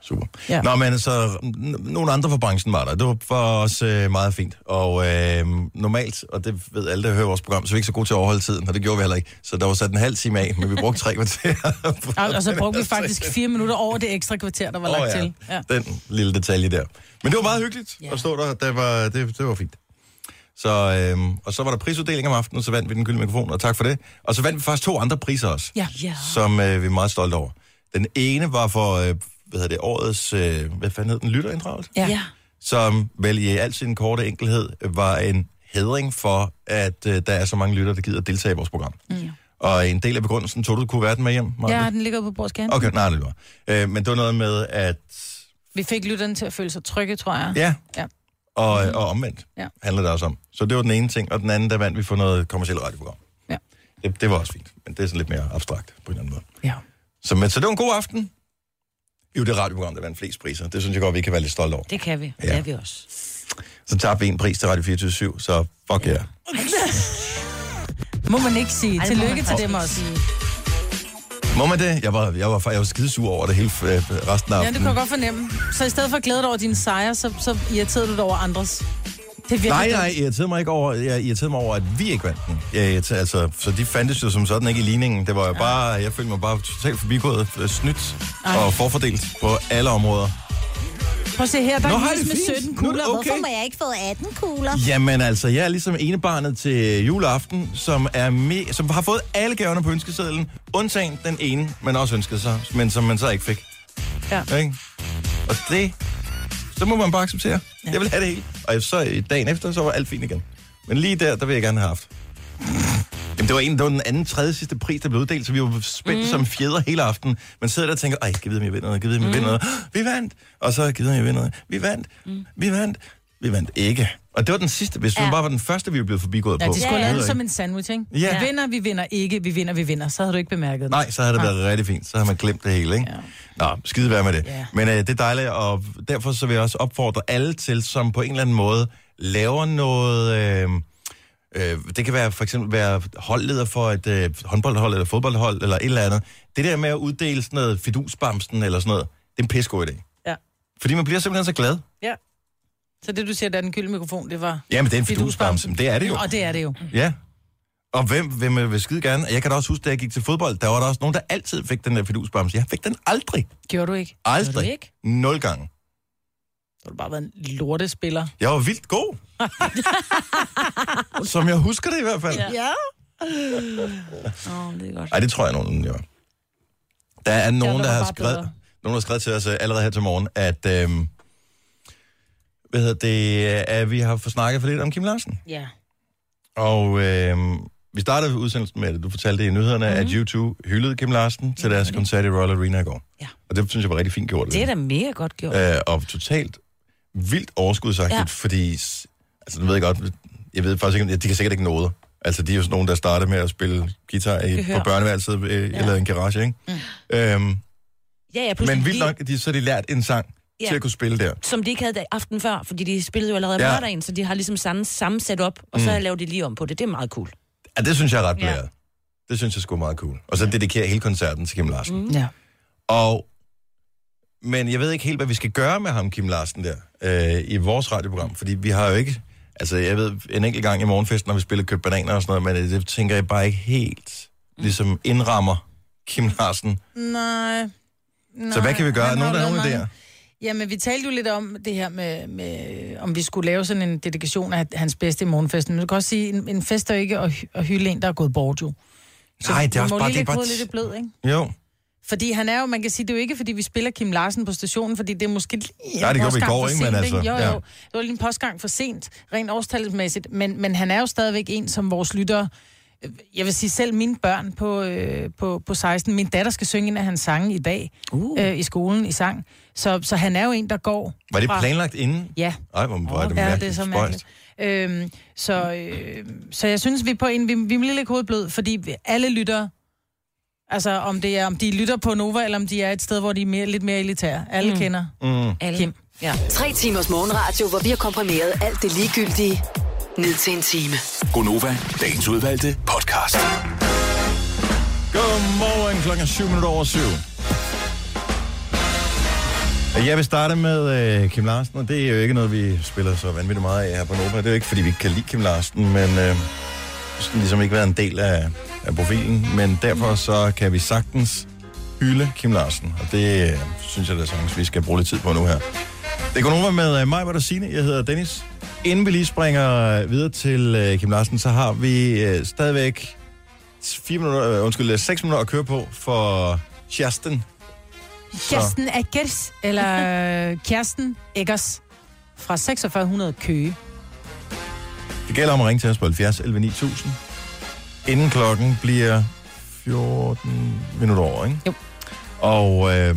A: Super. Ja.
B: Ja.
A: Nå, men så n- nogle andre fra branchen var der. Det var- var også øh, meget fint. Og øh, normalt, og det ved alle, der hører vores program, så er vi ikke så gode til at overholde tiden, og det gjorde vi heller ikke. Så der var sat en halv time af, men vi brugte tre kvarter. på
B: Og, og så
A: den
B: brugte vi
A: her
B: faktisk
A: serie.
B: fire minutter over det ekstra kvarter, der var lagt
A: Åh,
B: til. Ja.
A: Den lille detalje der. Men det var meget hyggeligt ja. at stå der. Det var, det, det var fint. Så, øhm, og så var der prisuddeling om aftenen, og så vandt vi den gyldne mikrofon, og tak for det. Og så vandt vi faktisk to andre priser også,
B: Ja.
C: Ja.
A: som øh, vi er meget stolte over. Den ene var for, øh, hvad hedder det, årets, øh, hvad fanden hed den, lytterinddragelse?
B: Ja.
C: ja.
A: som vel i al sin korte enkelhed var en hedring for, at øh, der er så mange lyttere, der gider deltage i vores program. Mm. Og en del af begrundelsen tog du, du kunne være den med hjem, Maja?
B: ja, den ligger på bordskærmen.
A: Okay, nej, det var. Øh, men det var noget med, at...
B: Vi fik lytterne til at føle sig trygge, tror jeg.
A: Ja,
B: Ja.
A: og, mm. og omvendt
B: Ja.
A: handler det også om. Så det var den ene ting, og den anden, der vandt vi for noget kommersielt radioprogram.
B: Ja.
A: Det, det var også fint, men det er sådan lidt mere abstrakt på en eller anden måde.
B: ja.
A: Så, men, så det var en god aften. Jo, det radioprogram, der vandt flest priser. Det synes jeg godt, vi kan være lidt stolte over.
C: Det kan vi. Ja.
A: Ja.
C: Det er vi også.
A: Så tabte vi en pris til Radio 24 så fuck ja. Yeah.
B: Må man ikke sige.
C: Ej, det må
B: Tillykke
C: man
B: til
C: faktisk
B: dem
C: ikke
B: også.
A: Må man det? Jeg var, jeg var, fa- jeg var skidesur over det hele øh, resten af
B: Ja, det
A: aftenen.
B: kunne jeg godt fornemme. Så i stedet for at glæde dig over dine sejre, så, så irriterede du dig over andres. Det er virkelig
A: Nej,
B: dumt.
A: nej, jeg irriterede mig ikke over, jeg irriterede mig over, at vi ikke vandt den. Jeg irriterede, altså, så de fandtes jo som sådan ikke i ligningen. Det var jo bare, jeg følte mig bare totalt forbigået, øh, snydt og forfordelt på alle områder.
B: Prøv at se her, der
A: Nå,
B: er
A: har
B: en
A: I
B: lys
A: det
B: med
A: fint?
B: 17
A: Nu er
B: kugler.
A: det okay.
B: Hvorfor må jeg ikke få 18 kugler?
A: Jamen altså, jeg er ligesom enebarnet til juleaften, som, er me- som har fået alle gaverne på ønskesedlen, undtagen den ene, man også ønskede sig, men som man så ikke fik.
B: Ja.
A: Ikke? Og det, så må man bare acceptere. Ja. Jeg vil have det hele. Og så øh, dagen efter, så var alt fint igen. Men lige der, der vil jeg gerne have haft. Jamen, det var, en, det var den anden, tredje sidste pris, der blev uddelt, så vi var spændt mm. som fjeder hele aften. Man sidder der og tænker, ej, kan jeg vide, om jeg vinder noget, kan jeg vide, om jeg vinder noget. Vi vandt! Og så, kan jeg vide, om jeg vinder noget. Vi vandt! Mm. Vi vandt! Vi vandt ikke. Og det var den sidste, hvis ja. den bare var den første, vi blev forbigået
B: Ja,
A: på.
B: de skulle
A: Det
B: lave
A: ved
B: det
A: jeg
B: som
A: ikke.
B: en sandwich, ikke?
A: Ja.
B: Vi vinder, vi vinder ikke, vi vinder, vi vinder. Så havde du ikke bemærket det.
A: Nej, så havde det været rigtig fint. Så har man glemt det hele, ikke? Ja. Nå, skide være med det.
B: Ja.
A: Men øh, det er dejligt, og derfor så vil jeg også opfordre alle til, som på en eller anden måde laver noget... Øh, øh, det kan være for eksempel være holdleder for et øh, håndboldhold eller fodboldhold eller et eller andet. Det der med at uddele sådan noget fidusbamsen eller sådan noget, det er en pissegod idé.
B: Ja.
A: Fordi man bliver simpelthen så glad.
B: Ja. Så det, du siger, der er den gyldne mikrofon, det var...
A: Jamen, det er en
B: Fidusbamsen.
A: fidusbamsen. Det er det jo.
B: Og det er det jo.
A: Ja. Og hvem, hvem øh, vil skide gerne? Jeg kan da også huske, da jeg gik til fodbold, der var der også nogen, der altid fik den der fidusbamse. Jeg fik den aldrig.
B: Gjorde du ikke?
A: Aldrig.
B: Gjorde du ikke?
A: Nul gange.
B: Så har du bare været en lortespiller.
A: Jeg var vildt god. Som jeg husker det i hvert fald.
B: Ja.
C: Åh, oh, det er godt.
A: Ej, det tror jeg nogen, gør. Der er nogen,
B: lover
A: der har
B: bare
A: skrevet,
B: bedre.
A: nogen, der har skrevet til os øh, allerede her til morgen, at, øhm, hvad hedder det, øh, at vi har fået snakket for lidt om Kim Larsen.
C: Ja.
A: Og øhm, vi startede udsendelsen med, at du fortalte det i nyhederne, mm-hmm.
B: Mhm.
A: at U2 hyldede Kim Larsen til deres koncert i Royal Arena i går.
C: Ja.
A: Og det synes jeg var rigtig fint gjort.
C: Det er da mega godt gjort.
A: Øh, og totalt vildt overskudsagtigt, ja.
C: Ja.
A: fordi... s- Altså, nu ved jeg godt... Jeg ved faktisk ikke, om- de kan sikkert ikke nå det. Altså, de er jo sådan nogen, der startede med at spille guitar i, på
C: Gehør.
A: børneværelset øh, ja. eller en garage, ikke? Mm. Øhm,
C: Ja, ja, pludselig
A: men vildt
C: lige-
A: nok, at de, så har de lært en sang ja.
C: Ja.
A: til at kunne spille der.
C: som de ikke havde aften før, fordi de spillede jo allerede
A: Ja.
C: ja. lørdagen, så de har ligesom samme, samme setup, og så laver de lige om på det. Det er meget cool.
A: Ja, det synes jeg er ret
C: Ja.
A: blæret. Det synes jeg sgu er meget cool. Og så dedikerer hele koncerten til Kim Larsen. Mm.
B: Ja.
A: Og, men jeg ved ikke helt, hvad vi skal gøre med ham, Kim Larsen, der, øh, i vores radioprogram. Fordi vi har jo ikke... Altså, jeg ved, en enkelt gang i morgenfesten, når vi spiller købt bananer og sådan noget, men det tænker jeg bare ikke helt
B: Mm.
A: ligesom indrammer Kim Larsen.
B: Nej. Nej.
A: Så hvad kan vi gøre? Er
B: han har
A: nogen, der
B: jo
A: har
B: lavet
A: nogen
B: mange-
A: der?
B: Jamen, vi talte jo lidt om det her med, med, om vi skulle lave sådan en dedikation af hans bedste i morgenfesten. Men du kan også sige, en, en fest er jo ikke at, hy- at hylde en, der er gået bort jo.
A: Nej, det er
B: vi
A: også
B: må
A: bare... Det er
B: lige lægge
A: bare
B: hovedet lidt i blød, ikke?
A: jo,
B: Fordi han er jo, man kan sige, det er jo ikke, fordi vi spiller Kim Larsen på stationen, fordi det er måske lige
A: Nej, det
B: en
A: gjorde vi i
B: postgang
A: går,
B: for
A: ikke? Men
B: sent,
A: altså,
B: Jo, jo,
A: ja.
B: det var lige en postgang for sent, rent årstalsmæssigt, men, men han er jo stadigvæk en, som vores lyttere, øh, jeg vil sige selv mine børn på, øh, på, på 16, min datter skal synge en af hans sange i dag, uh. øh, i skolen, i sang, så, så han er jo en, der går
A: var det
B: fra-
A: planlagt inden?
B: Ja,
A: Ej, hvor hvor er det
B: ja,
A: mærkeligt.
B: det er så
A: spøjst.
B: mærkeligt. Øhm, så, øh, så jeg synes, vi er på en, vi, vi må lige lægge hovedet blød, fordi vi- alle lytter Altså, om, det er, om de lytter på Nova, eller om de er et sted, hvor de er mere, lidt mere elitære. Alle mm. kender.
C: Alle.
B: Kim.
C: Ja.
D: Tre timers morgenradio, hvor vi har komprimeret alt det ligegyldige ned til en time.
E: Gonova, dagens udvalgte podcast.
A: Godmorgen klokken er 7 minutter over 7. Jeg vil starte med øh, Kim Larsen, og det er jo ikke noget, vi spiller så vanvittigt meget af her på Nova. Det er jo ikke, fordi vi ikke kan lide Kim Larsen, men øh, sådan ligesom ikke været en del af, af profilen. Men derfor så kan vi sagtens hylde Kim Larsen, og det øh, synes jeg da sagtens, vi skal bruge lidt tid på nu her. Det går over med øh, mig, hvor der Signe. Jeg hedder Dennis. Inden vi lige springer øh, videre til øh, Kim Larsen, så har vi øh, stadigvæk 4 minutter, øh, undskyld, øh, 6 minutter at køre på for Kirsten. Så,
B: Kirsten Eggers, eller øh, Kirsten Eggers fra 4600 Køge.
A: det gælder om at ringe til os på 70 11 9000. Inden klokken bliver 14 minutter over, ikke?
B: Jo.
A: Og øh,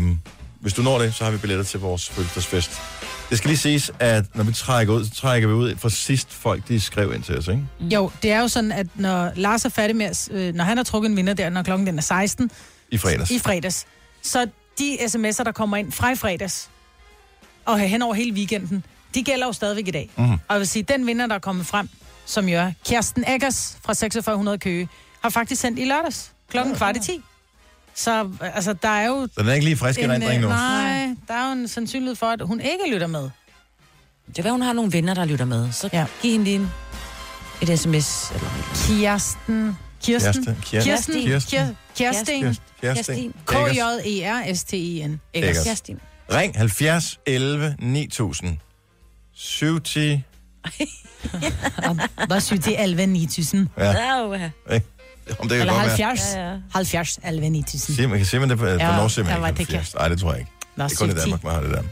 A: hvis du når det, så har vi billetter til vores fødselsdagsfest. Det skal lige siges, at når vi trækker ud, så trækker vi ud fra sidst folk, de skrev ind til os, ikke?
B: Jo, det er jo sådan, at når Lars er færdig med, at s- øh, når han har trukket en vinder der, når klokken den er 16
A: I fredags.
B: i fredags, så de sms'er, der kommer ind fra i fredags, og hen over hele weekenden, de gælder jo stadigvæk i dag. Mm. Og jeg vil sige, den vinder, der er kommet frem, som jo er Kirsten Eggers fra 4600 Køge, har faktisk sendt i lørdags klokken kvart i 10. Så øh, altså, der er jo
A: Så den er ikke lige frisk i
B: en, øh,
A: rendring nu.
B: nej, der er jo en sandsynlighed for, at hun ikke lytter med.
C: Det kan være, hun har nogle venner, der lytter med. Så
B: Ja.
C: ja. giv hende lige en, et sms. Eller noget.
B: Kirsten. Kirsten.
A: Kirsten.
B: Kirsten.
A: Kirsten.
B: Kirsten. Kirsten.
A: Kirsten. Kirsten.
B: K-J-E-R-S-T-I-N.
A: Eggers.
C: Kirsten.
A: Ring 70 11 9000. 70...
B: Hvad synes det? 11 9000.
C: Ja. uha.
A: Ikke? Om det kan
B: Eller
A: godt
B: 70.
C: Ja, ja.
B: 70 11 9000.
A: være. Man kan se, man det på, ja,
B: Ja,
A: hvornår ser man
B: ja,
A: ikke
B: var det
A: 70. Nej, det tror jeg ikke.
B: Nå,
A: Det er kun i
B: 7-10.
A: Danmark, man har det der.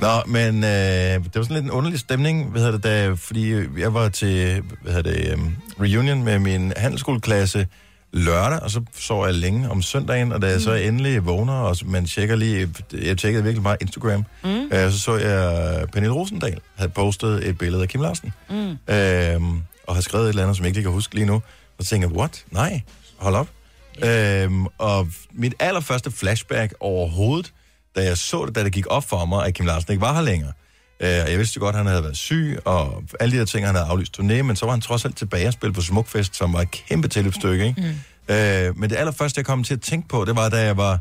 A: Nå, men øh, det var sådan lidt en underlig stemning, hvad hedder det, da, fordi jeg var til hvad hedder det, um, reunion med min handelsskoleklasse lørdag, og så sov jeg længe om søndagen, og da jeg
B: Mm.
A: så endelig vågner, og så- man tjekker lige, jeg tjekkede virkelig meget Instagram, mm. øh, så så jeg, Pernille Rosendal havde postet et billede af Kim Larsen, mm. øhm, og har skrevet et eller andet, som jeg ikke lige kan huske lige nu, og så tænker jeg, what? Nej, hold op. Øhm, og mit allerførste flashback overhovedet, da jeg så det, da det gik op for mig, at Kim Larsen ikke var her længere. Øh, og jeg vidste jo godt, at han havde været syg, og alle de der ting, han havde aflyst turné, men så var han trods alt tilbage og spille på Smukfest, som var et kæmpe tilløbsstykke, ikke? Mm. Øh, men det allerførste, jeg kom til at tænke på, det var, da jeg var,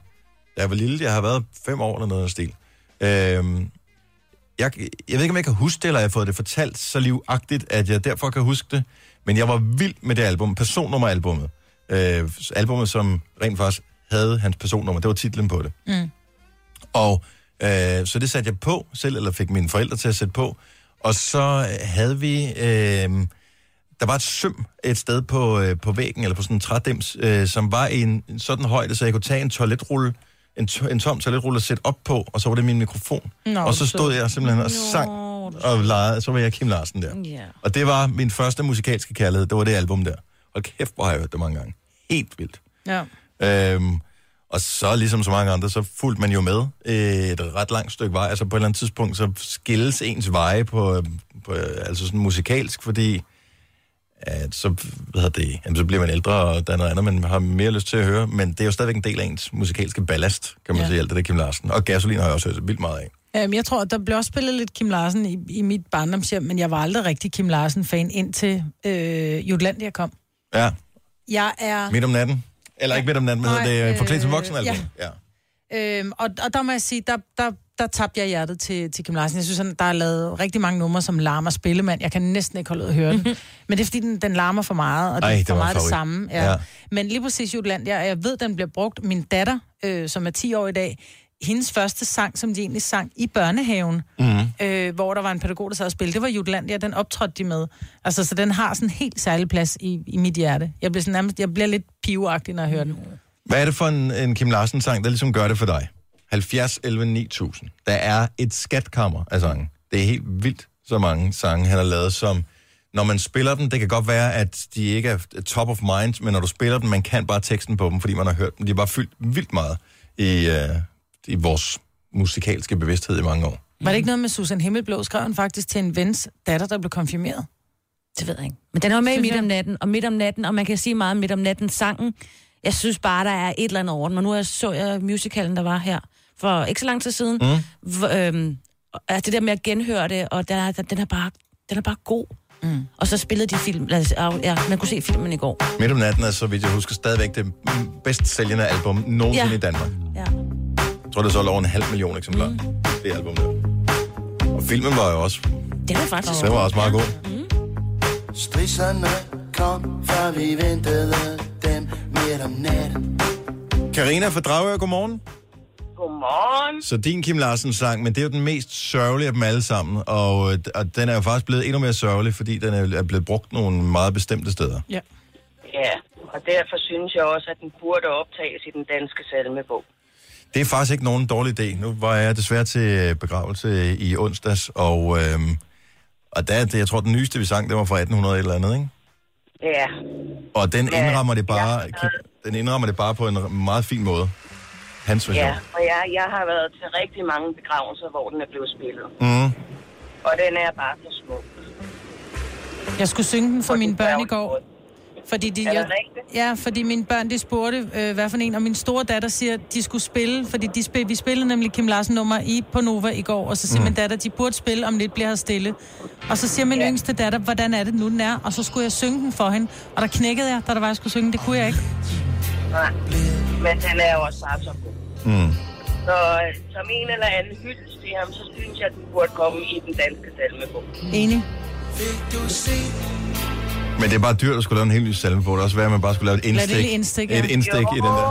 A: da jeg var lille. Jeg har været fem år eller noget af den stil. Øh, jeg, jeg ved ikke, om jeg kan huske det, eller jeg har fået det fortalt så livagtigt, at jeg derfor kan huske det. Men jeg var vild med det album, personnummeralbummet. Øh, albummet, som rent faktisk havde hans personnummer. Det var titlen på det. Mm. Og øh, så det satte jeg på selv, eller fik mine forældre til at sætte på. Og så havde vi... Øh, der var et søm et sted på, øh, på væggen, eller på sådan en trædims, øh, som var i en, en sådan højde, så jeg kunne tage en toiletrulle, en, to, en tom toiletrulle og sætte op på, og så var det min mikrofon.
B: Nå,
A: og så
B: du
A: stod jeg simpelthen og sang og legede, så var jeg Kim Larsen der.
C: Ja.
A: Og det var min første musikalske kærlighed, det var det album der. Og kæft, hvor har jeg hørt det mange gange. Helt vildt.
B: Ja.
A: Øhm, og så ligesom så mange andre, så fulgte man jo med øh, et ret langt stykke vej. Altså på et eller andet tidspunkt, så skilles ens veje på, øh, på øh, altså sådan musikalsk, fordi at så, hvad hedder det, jamen, så bliver man ældre, og der er noget andet, man har mere lyst til at høre. Men det er jo stadigvæk en del af ens musikalske ballast, kan man ja.
B: Ja.
A: sige, alt det der Kim Larsen. Og gasolin har jeg også hørt så vildt meget af.
B: Øhm, jeg tror, der blev også spillet lidt Kim Larsen i, i mit barndomshjem, men jeg var aldrig rigtig Kim Larsen-fan indtil øh, Jutlandia kom.
A: Ja,
B: Jeg er...
A: midt om natten. Eller ikke midt om natten, men
B: Nej,
A: hedder det øh, forklædt som
B: øh,
A: voksen, altså. Ja. ja.
B: Øhm, og, og der må jeg sige, der, der, der tabte jeg hjertet til, til Kim Larsen. Jeg synes, han, der er lavet rigtig mange numre, som larmer spillemand. Jeg kan næsten ikke holde ud at høre den. Men det er, fordi den, den larmer for meget, og det
A: Ej,
B: er
A: det
B: for
A: var
B: meget det
A: favorit.
B: samme. Ja.
A: Ja.
B: Ja. Men lige præcis Jutland, jeg, jeg ved, den bliver brugt. Min datter, øh, som er 10 år i dag, hendes første sang, som de egentlig sang i børnehaven,
A: Mhm.
B: mm. øh, hvor der var en pædagog, der sad og spillede, det var Jutland, ja, den optrådte de med. Altså, så den har sådan en helt særlig plads i, i mit hjerte. Jeg bliver, sådan, nærmest, jeg bliver lidt piveagtig, når jeg hører den.
A: Hvad er det for en, en Kim Larsen-sang, der ligesom gør det for dig? 70, 11, 9000. Der er et skatkammer af sange. Det er helt vildt, så mange sange, han har lavet, som... Når man spiller dem, det kan godt være, at de ikke er top of mind, men når du spiller dem, man kan bare teksten på dem, fordi man har hørt dem. De er bare fyldt vildt meget i, øh, i vores musikalske bevidsthed i mange år.
B: Var det ikke noget med Susan Himmelblå? Skrev han faktisk til en vens datter, der blev konfirmeret?
C: Det ved jeg ikke. Men den var med i Midt om natten, og Midt om natten, og man kan sige meget om Midt om natten sangen. Jeg synes bare, der er et eller andet over den. Og nu er jeg- så jeg musicalen, der var her for ikke så lang tid siden. Mm. V- øhm, altså det der med at genhøre det, og der, er- der, den, er bare, den er bare god. Mm. Og så spillede de film, altså, af- ja, man kunne se filmen i går.
A: Midt om natten er, så vidt jeg husker, stadigvæk det mm, bedst sælgende album nogensinde ja.
C: Ja.
A: i Danmark.
C: Ja.
A: Jeg tror, det er solgt over en halv million eksemplarer, mm. det album der. Og filmen var jo også,
C: Den er faktisk...
A: den var også meget god.
I: Stridserne kom, før vi ventede dem midt om natten.
A: Karina fra Dragør, godmorgen.
J: Godmorgen.
A: Så din Kim Larsen sang, men det er jo den mest sørgelige af dem alle sammen, og, øh, og den er jo faktisk blevet endnu mere sørgelig, fordi den er- er blevet brugt nogle meget bestemte steder.
B: Ja.
J: Ja, og derfor synes jeg også, at den burde optages i den danske salmebog.
A: Det er faktisk ikke nogen dårlig idé. Nu var jeg desværre til begravelse i onsdags, og, øhm, og der, er det- jeg tror, den nyeste, vi sang, det var fra 1800 et eller andet, ikke?
J: Ja,
A: Og den
J: Ja,
A: indrammer det bare,
J: ja.
A: Kim- den indrammer det bare på en r- meget fin måde. Hans version.
J: ja. Og jeg, jeg har været til rigtig mange begravelser, hvor den er blevet spillet.
A: Mm.
J: Og den er bare så smuk.
B: Jeg skulle synge den for
J: Og
B: mine
J: den
B: børn i
J: sørger
B: går.
J: godt.
B: Fordi de,
J: Er det
B: jeg,
J: rigtigt?
B: ja, fordi mine børn, de spurgte, øh, hvad for en, og min store datter siger, at de skulle spille, fordi de spil, vi spillede nemlig Kim Larsen nummer i på Nova i går, og så siger mm. min datter, de burde spille, om lidt bliver her stille. Og så siger min ja. yngste datter, hvordan er det nu, den er, og så skulle jeg synge den for hende, og der knækkede jeg, da der var, jeg skulle synge, den. det kunne jeg ikke.
J: Nej. Men den er jo også bare så god. Mm. Så øh, som en eller anden hyldest til ham, så synes jeg, at den burde komme i den danske salmebog.
B: Enig.
A: Men det er bare dyrt at skulle lave en helt ny salme på. Det er også værd, at man bare skulle lave et
B: et
A: indstik.
B: lille indstik, ja.
A: Et indstik i den der.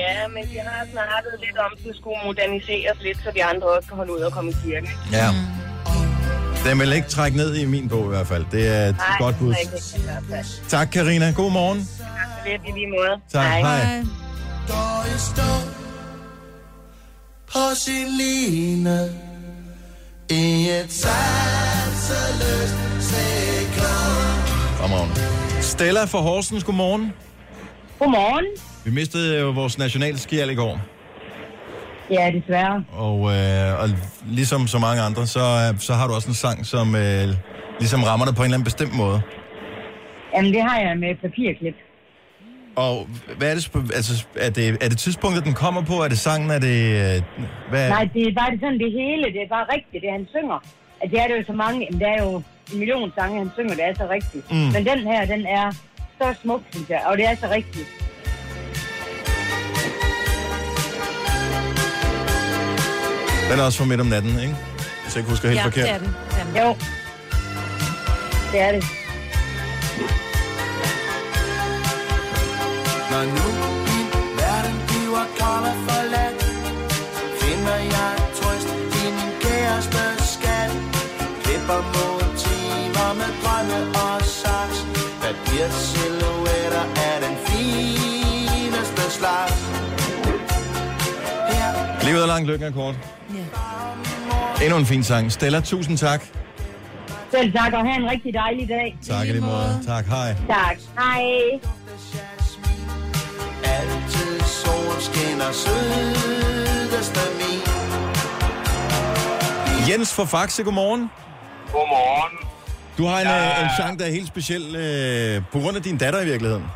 J: ja, men vi har snakket lidt om, at den skulle moderniseres lidt, så vi andre også kan holde ud og komme i kirken.
A: Ja.
B: Mm.
A: Den vil ikke trække ned i min bog i hvert fald. Det er et
J: Nej,
A: godt bud.
J: det er ikke i hvert fald.
A: Tak, Karina. God morgen.
J: Så lidt i lige måde.
A: Tak.
B: Hej.
I: Går i stå på sin line i et sanseløst sekund.
A: Godmorgen. Stella fra Horsens, godmorgen.
J: Godmorgen.
A: Vi mistede jo vores nationalskjald i går.
J: Ja, desværre.
A: Og, øh, og ligesom så mange andre, så, øh, så har du også en sang, som øh, ligesom rammer dig på en eller anden bestemt måde.
J: Jamen, det har jeg med et papirklip.
A: Og hvad er det, sp- altså, er det, er det tidspunktet, den kommer på? Er det sangen? Er det, øh, hvad?
J: Nej, det er bare det sådan det hele. Det er bare rigtigt, det han synger. At det er det jo så mange, men der er jo en million sange, han synger, det er så rigtigt. Mm. Men den her, den er så smuk, synes jeg, og det er så rigtigt.
A: Den er også fra midt om natten, ikke? Hvis jeg ikke husker helt
C: ja,
A: forkert.
C: det er den. Det er den.
J: Jo, det er det.
I: Når nu i verden bliver kold og forladt, finder jeg trøst i min kæreste skat. Klipper mod timer med drømme og saks, papir silhuetter af den fineste slags. Her
A: Livet er langt, lykken er kort. Ja. Endnu en fin sang. Stella, tusind tak.
J: Selv tak, og have en rigtig dejlig dag.
A: Tak i lige måde. Tak, hej.
J: Tak. Hej.
I: dufter jasmin. Altid solen skinner sødeste min.
A: Jens fra Faxe, godmorgen.
K: Godmorgen.
A: Du har en, ja. en sang, der er helt speciel øh, på grund af din datter i virkeligheden.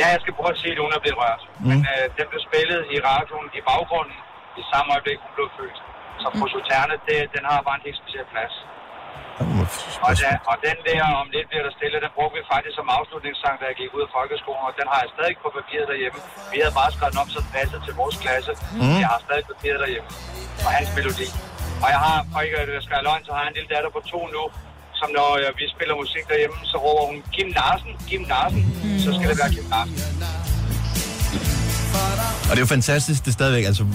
K: Ja, jeg skal prøve at sige, at hun er blevet rørt. Mm. Men øh, den blev spillet i radioen i baggrunden i samme øjeblik, hun blev født. Så
J: Mm.
K: fru Suterne, det, den har bare en helt speciel plads. Og, da, og den der, om lidt bliver der stille, den brugte vi faktisk som afslutningssang, da jeg gik ud af folkeskolen, og den har jeg stadig på papiret derhjemme. Vi havde bare skrevet den op, så den passede til vores klasse. Mm. Jeg har stadig papiret derhjemme, og hans melodi. Og jeg har, for ikke at jeg skal have løgn, så har jeg en lille datter på to nu, som når øh, vi spiller musik derhjemme, så råber hun, Kim Larsen, Kim Larsen, mm. så skal det være Kim Larsen.
A: Og det er jo fantastisk, det er stadigvæk, altså,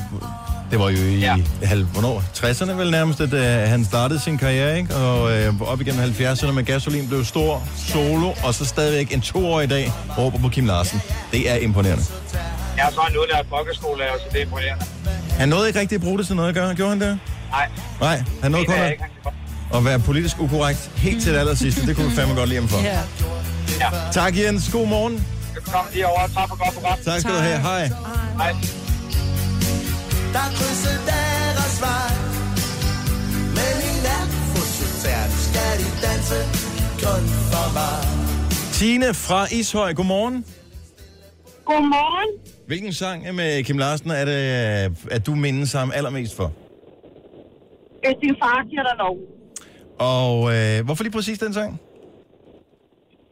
A: det var jo i ja.
K: Ja.
A: halv, hvornår? 60'erne vel nærmest, at øh, han startede sin karriere, ikke? Og øh, op igennem 70'erne med gasolin blev stor, solo, og så stadigvæk en toårig i dag råber på Kim Larsen. Det er imponerende.
K: Jeg er så en udlært folkeskolelærer, så det er imponerende.
A: Han nåede ikke rigtig at bruge det til noget at gøre, gjorde han det?
K: Nej,
A: Nej, han nåede
K: det
A: kun
K: er jeg
A: at,
K: ikke. Han kan godt-
A: at være politisk ukorrekt helt til det allersidste. Det kunne vi fandme godt lide ham for.
B: Ja.
A: Tak Jens, god morgen.
K: Velkommen lige over, tak for godt program.
A: Tak skal du have, hej.
K: Hej.
I: Der krydser deres vej Men i nat Fossutern skal de danse Kun for mig
A: Tine fra Ishøj, godmorgen.
I: Godmorgen.
A: Hvilken sang med Kim Larsen er det, at du mindes ham allermest for?
I: Øh, Din far giver dig lov.
A: Og øh, hvorfor lige præcis den sang?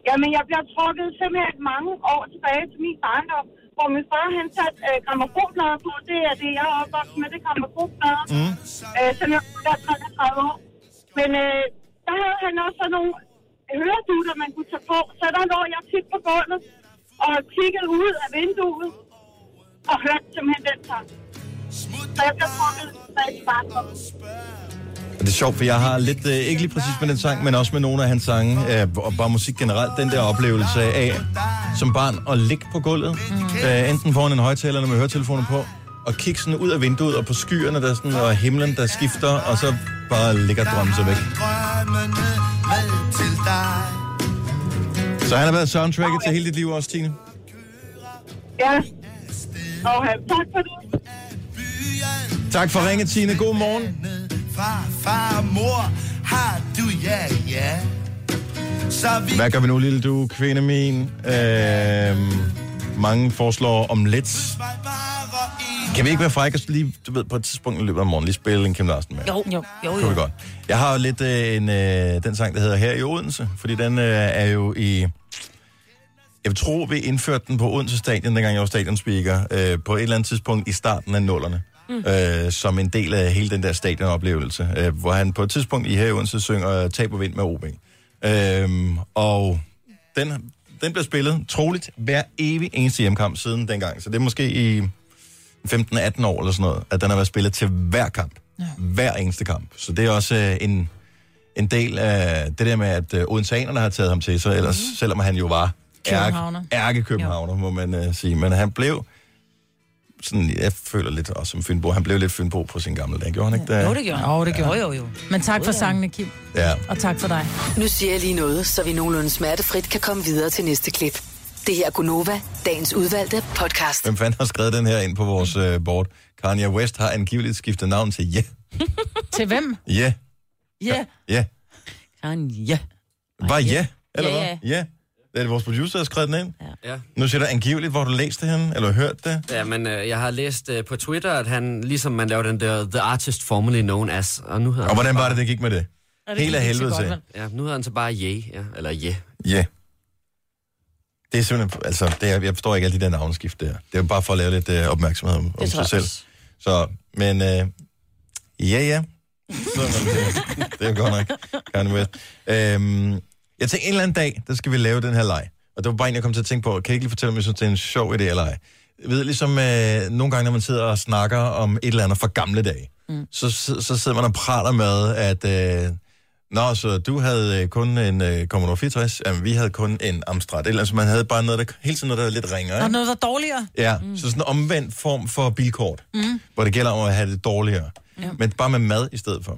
I: Jamen, jeg bliver trukket simpelthen mange år tilbage til min barndom, hvor min far han satte øh, gramofonplader på. Det er det, jeg er opvokset med, det er gramofonplader,
A: mm.
I: øh, som jeg kun er 33 år. Men øh, der havde han også sådan nogle høredutter, man kunne tage på, så der lå jeg tit på gulvet og kiggede ud af vinduet og hørte simpelthen den sang. Så jeg blev trukket tilbage til barndommen.
A: Det er sjovt, for jeg har lidt, øh, ikke lige præcis med den sang, men også med nogle af hans sange, øh, og bare musik generelt, den der oplevelse af som barn at ligge på gulvet, øh, enten foran en højtaler eller med høretelefoner på, og kigge sådan ud af vinduet og på skyerne der sådan, og himlen, der skifter, og så bare ligge og drømme sig væk.
G: Drømmene med til dig.
A: Så han har været soundtracket til hele dit liv også, Tine?
I: Ja. Og øh, tak for det.
A: Tak for ringet, Tine. God morgen.
G: Fra far og mor har du ja, ja. Så vi
A: Hvad gør vi nu, lille du, kvinde min? Øh, mange foreslår om lidt. Kan vi ikke være frække og lige, du ved, på et tidspunkt i løbet af morgen lige spille en Kim Larsen med?
C: Jo, jo, jo.
A: Kunne vi
C: jo.
A: godt. Jeg har jo lidt øh, en, øh, den sang, der hedder Her i Odense, fordi den øh, er jo i... Jeg tror, vi indførte den på Odense Stadion, dengang jeg var stadionspeaker, øh, på et eller andet tidspunkt i starten af nullerne, mm. øh, som en del af hele den der stadionoplevelse, øh, hvor han på et tidspunkt i Her i Odense synger Tab og vind med OB. Øh, og den, den bliver spillet troligt hver evig eneste hjemkamp siden dengang, så det er måske i 15-18 år eller sådan noget, at den har været spillet til hver kamp. Ja. Hver eneste kamp. Så det er også øh, en, en del af det der med, at øh, Odenseanerne har taget ham til sig, ellers, mm. selvom han jo var
B: Mhm. Københavner.
A: ærke-københavner, må man øh, sige. Men han blev, sådan, jeg føler lidt også som Fynbo, han blev lidt Fynbo på sin gamle dag. Gjorde han ikke det?
B: Jo, det gjorde han. Jo, det gjorde jo, jo. Men tak for sangene, Kim.
A: Ja.
B: Og tak for dig.
D: Nu siger jeg lige noget, så vi nogenlunde smertefrit kan komme videre til næste klip. Det her er Gunova, dagens udvalgte podcast.
A: Hvem fanden har skrevet den her ind på vores øh, board? Kanye West har angiveligt skiftet navn til Ja.
B: Til hvem?
A: Ja.
B: Ja.
A: Ja.
C: Kanye.
A: Var Ja? Eller
C: Ja,
A: hvad? Ja. Det er vores producer, der har skrevet den ind.
L: Ja.
A: Nu siger der angiveligt, hvor har du læste henne, eller hørt det.
L: Ja, men øh, jeg har læst øh, på Twitter, at han, ligesom man laver den der The Artist Formerly Known As, og nu hedder
A: Og hvordan var det, det gik med det?
L: Ja,
A: det Helt af gik ikke så helvede godt, til.
L: Ja, nu hedder han så bare Ye, ja, eller Ye.
A: Ja. Yeah. Det er simpelthen, altså, det er, jeg forstår ikke alle de der navnskift der. Det er jo bare for at lave lidt øh, opmærksomhed om, om
L: tror
A: sig
L: jeg
A: selv.
L: også.
A: Så, men øh, ja, ja. Så, men, det, det er godt nok. Kanye West. Øhm, jeg tænkte, en eller anden dag, der skal vi lave den her leg. Og det var bare en, jeg kom til at tænke på. Kan jeg ikke lige fortælle, om jeg synes, det er en sjov idé eller ej? Jeg ved, ligesom øh, nogle gange, når man sidder og snakker om et eller andet fra gamle dage, mm. så, så, så sidder man og praler med, at... Øh, Nå, så du havde øh, kun en øh, Commodore 64, jamen, vi havde kun en Amstrad. Ellers man havde bare noget, der hele tiden noget, der var lidt ringere.
B: Har
A: Ikke?
B: noget, der er dårligere?
A: Ja, mm. så sådan en omvendt form for bilkort,
B: Mm.
A: hvor det gælder om at have det dårligere.
B: Ja.
A: Ja. Men bare med mad i stedet for.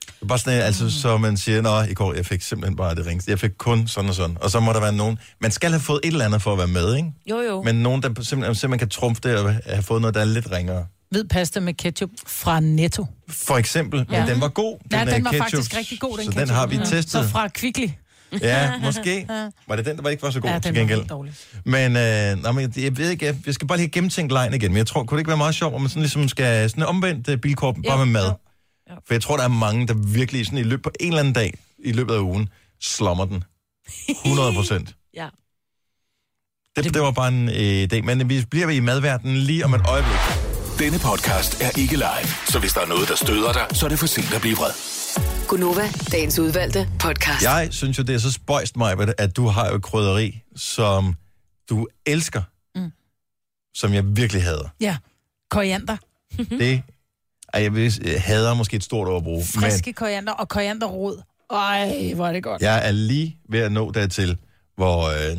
A: Det er Bare sådan, mm. altså, så man siger, nå, i går, jeg fik simpelthen bare det ringeste. Jeg fik kun sådan og sådan. Og så må der være nogen. Man skal have fået et eller andet for at være med, ikke?
C: Jo, jo.
A: Men nogen, der simpelthen, simpelthen kan trumfe det og have fået noget, der er lidt ringere.
B: Hvid pasta med ketchup fra Netto.
A: For eksempel, ja.
B: Ja.
A: men den var god.
B: Ja,
A: øh,
B: den var
A: ketchup,
B: faktisk rigtig god, den
A: Så den
B: ketchup.
A: har vi
B: Ja.
A: testet.
B: Så fra Kvickly.
A: Ja, måske.
B: Ja.
A: Var det den, der ikke var så god
B: Ja, den
A: Uh, til
B: var
A: gengæld?
B: helt dårlig.
A: Men, øh, nej, men jeg- jeg ved ikke, jeg, jeg skal bare lige have gennemtænkt lejen igen, men jeg tror, kunne det ikke være meget sjovt, om man sådan ligesom skal sådan omvendt uh, bilkorp bare med mad? For jeg tror, der er mange, der virkelig sådan i løbet på en eller anden dag, i løbet af ugen, slummer den. 100 procent.
C: Ja.
A: Det, det, var bare en øh, idé, men vi bliver ved i madverdenen lige om et øjeblik.
E: Denne podcast er ikke live, så hvis der er noget, der støder dig, så er det for sent at blive vred.
D: Gunova, dagens udvalgte podcast.
A: Jeg synes jo, det er så spøjst, Majbert, at du har jo et krydderi, som du elsker,
B: Mm.
A: mm. som jeg virkelig hader.
B: Ja. Koriander.
A: Det, ej, jeg, vil, jeg hader måske et stort overbrug, men
B: Friske koriander og korianderrod. Ej, hvor er det godt.
A: jeg er lige ved at nå dertil, hvor, øh,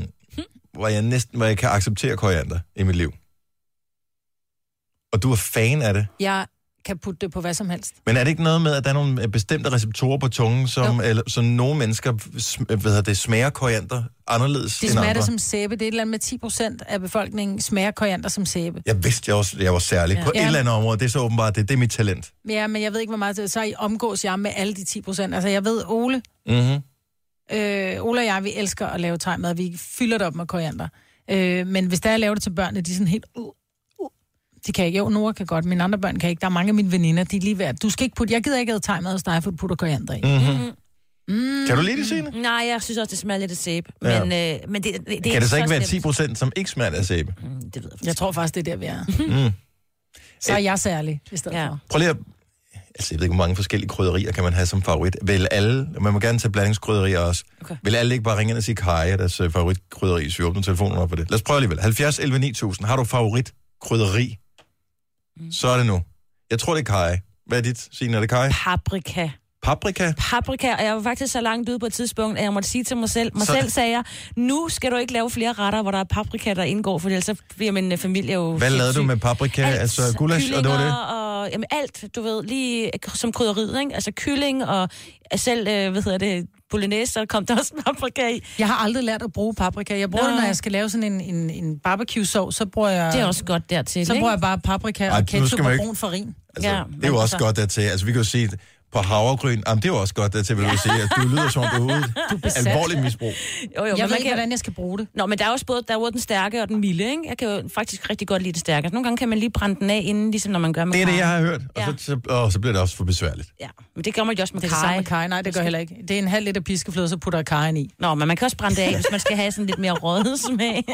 A: hvor jeg næsten hvor jeg kan acceptere koriander i mit liv. Og du er fan af det.
B: Jeg kan putte det på hvad som helst.
A: Men er det ikke noget med, at der er nogle øh, bestemte receptorer på tungen, som, eller, som nogle mennesker sm- øh, hvad hedder det, smager koriander anderledes
B: De
A: end
B: smager
A: andre?
B: det som Mm, sæbe. Det er et eller andet med 10 procent af befolkningen smager koriander som sæbe.
A: Jeg vidste jeg også, jeg var særlig
B: Ja.
A: ja. på et
B: Ja.
A: eller andet område. Det er så åbenbart, det, det er mit talent.
B: Ja, men jeg ved ikke, hvor meget det Så I omgås jeg med alle de 10 procent. Altså, jeg ved, Ole,
A: Mm-hmm.
B: øh, Ole og jeg, vi elsker at lave tegmad. Vi fylder det op med koriander. Øh, men hvis der jeg laver det til børnene, de er sådan helt... Uh, uh, de kan ikke. Jo, Nora kan godt, mine andre børn kan ikke. Der er mange af mine veninder, de er lige ved at- Du skal ikke putte... Jeg gider ikke have tegnet hos dig, for du putter koriander i.
A: Mm-hmm.
B: Mm.
A: Kan du lide det, Signe?
C: Nej, jeg synes også, det smager lidt af sæbe.
A: Ja.
C: Men, øh, men det, det, det,
A: kan det så ikke være
C: slemt. Mm,
A: 10 procent, som ikke smager af sæbe?
C: Det ved jeg.
B: Jeg tror faktisk, det er der, vi er.
A: Mm.
B: Så er jeg særlig, i stedet ja. for.
A: Prøv lige at... Altså, jeg ved ikke, hvor mange forskellige krydderier kan man have som favorit. Vil alle... Man må gerne tage blandingskrydderier også. Okay. Vil alle ikke bare ringe ind og sige, Kaja, er deres øh, favoritkrydderi, så vi åbner telefonen op for det. Lad os prøve alligevel. 70 11 9000. Har du favoritkrydderi? Mm. Så er det nu. Jeg tror, det er Kaja. Hvad er dit, Signe? Er det Kaja?
C: Paprika.
A: Paprika?
C: Paprika, og jeg var faktisk så langt ude på et tidspunkt, at jeg måtte sige til mig selv, mig
A: Så-
C: så... selv sagde jeg, nu skal du ikke lave flere retter, hvor der er paprika, der indgår, for ellers så bliver min øh, familie jo...
A: Hvad lavede
C: sindssyg.
A: du med paprika?
C: Alt.
A: Altså gulasch, og det var det?
C: Kyllinger Og, jamen alt, du ved, lige øh, som krydderiet, ikke? Altså kylling og selv, øh, hvad hedder det, bolognese, så kom der også paprika i.
B: Jeg har aldrig lært at bruge paprika. Jeg bruger
C: Nå.
B: Nå. det, når jeg skal lave sådan en, en, en barbecue-sovs, så bruger jeg...
C: Det er også godt dertil,
B: Så
C: ikke?
B: bruger jeg bare paprika
A: Ej,
B: og
A: nu skal
B: ketchup
A: man
B: og
A: ikke-
B: brun farin.
A: Altså, ja, det er jo også godt dertil. Altså, vi kan jo sige, på havregryn, jamen, det er jo også godt dertil, vil du sige, at du lyder som om du er ude.
C: Du er besat.
A: Alvorligt misbrug.
C: Jo,
B: Jeg
C: jo, men
B: ved
C: man
B: ikke, hvordan jeg skal bruge det.
C: Nå, men der er også både, der er både den stærke og den milde, ikke? Jeg kan jo faktisk rigtig godt lide den stærke. Altså, Nogle gange kan man lige brænde den af, inden, ligesom når man gør med
A: Det er det,
C: karry.
A: jeg har hørt. Og
C: Ja.
A: så, så, åh, så bliver det også for besværligt.
C: Men det gør man jo også med
B: Det er det samme
C: kaj.
B: med kaj. Nej, det gør jeg heller ikke. Det er en halv liter piskefløde, så putter jeg kajen i.
C: Nå, men man kan også brænde det af, hvis man skal have sådan lidt mere røget smag.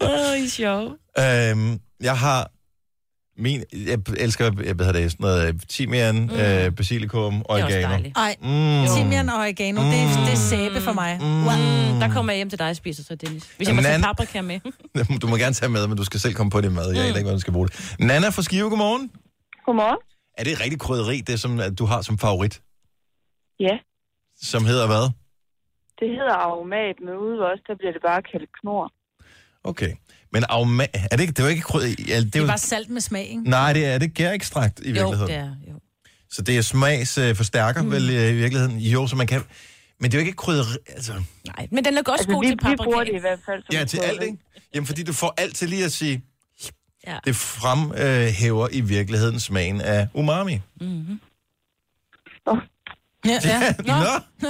C: Åh, oh, I er sjov.
A: Øhm, jeg har min... Jeg elsker, jeg, hvad hedder det, sådan noget øh, timian, mm. øh, basilikum, oregano.
B: Ej,
A: Mm.
B: timian og oregano, det, er, det er sæbe for mig.
C: Mm. Der kommer jeg hjem til dig og spiser så, Dennis. Hvis jeg må tage
A: Nan-
C: paprika med.
A: Du må gerne tage med, men du skal selv komme på din mad. Jeg mm. ikke, hvordan du skal bruge det. Nana fra Skive, godmorgen.
M: Godmorgen.
A: Er det et rigtigt krydderi, det som at du har som favorit?
M: Ja,
A: Som hedder hvad?
M: det hedder aromat, men ude også, der bliver det bare kaldt knor.
A: Okay. Men aroma... er det, ikke, det er jo ikke krydderi. Ja, det,
B: Det
A: er
B: er
A: jo...
B: bare salt med smag, ikke?
A: Nej, det er det gærekstrakt i virkeligheden.
B: Jo, det er. Jo.
A: Så det er smagsforstærker mm. vel øh, i virkeligheden. Jo, så man kan... Men det er jo ikke krydderi... Altså...
C: Nej, men den er også
M: altså,
C: god
M: vi,
C: til
M: vi
C: paprika.
M: bruger det i hvert fald.
A: Ja, til alt, ikke? Jamen, fordi du får alt til lige at sige,
C: ja.
A: det fremhæver i virkeligheden smagen af umami.
C: Mm-hmm.
B: Ja,
A: ja. Nå. Nå.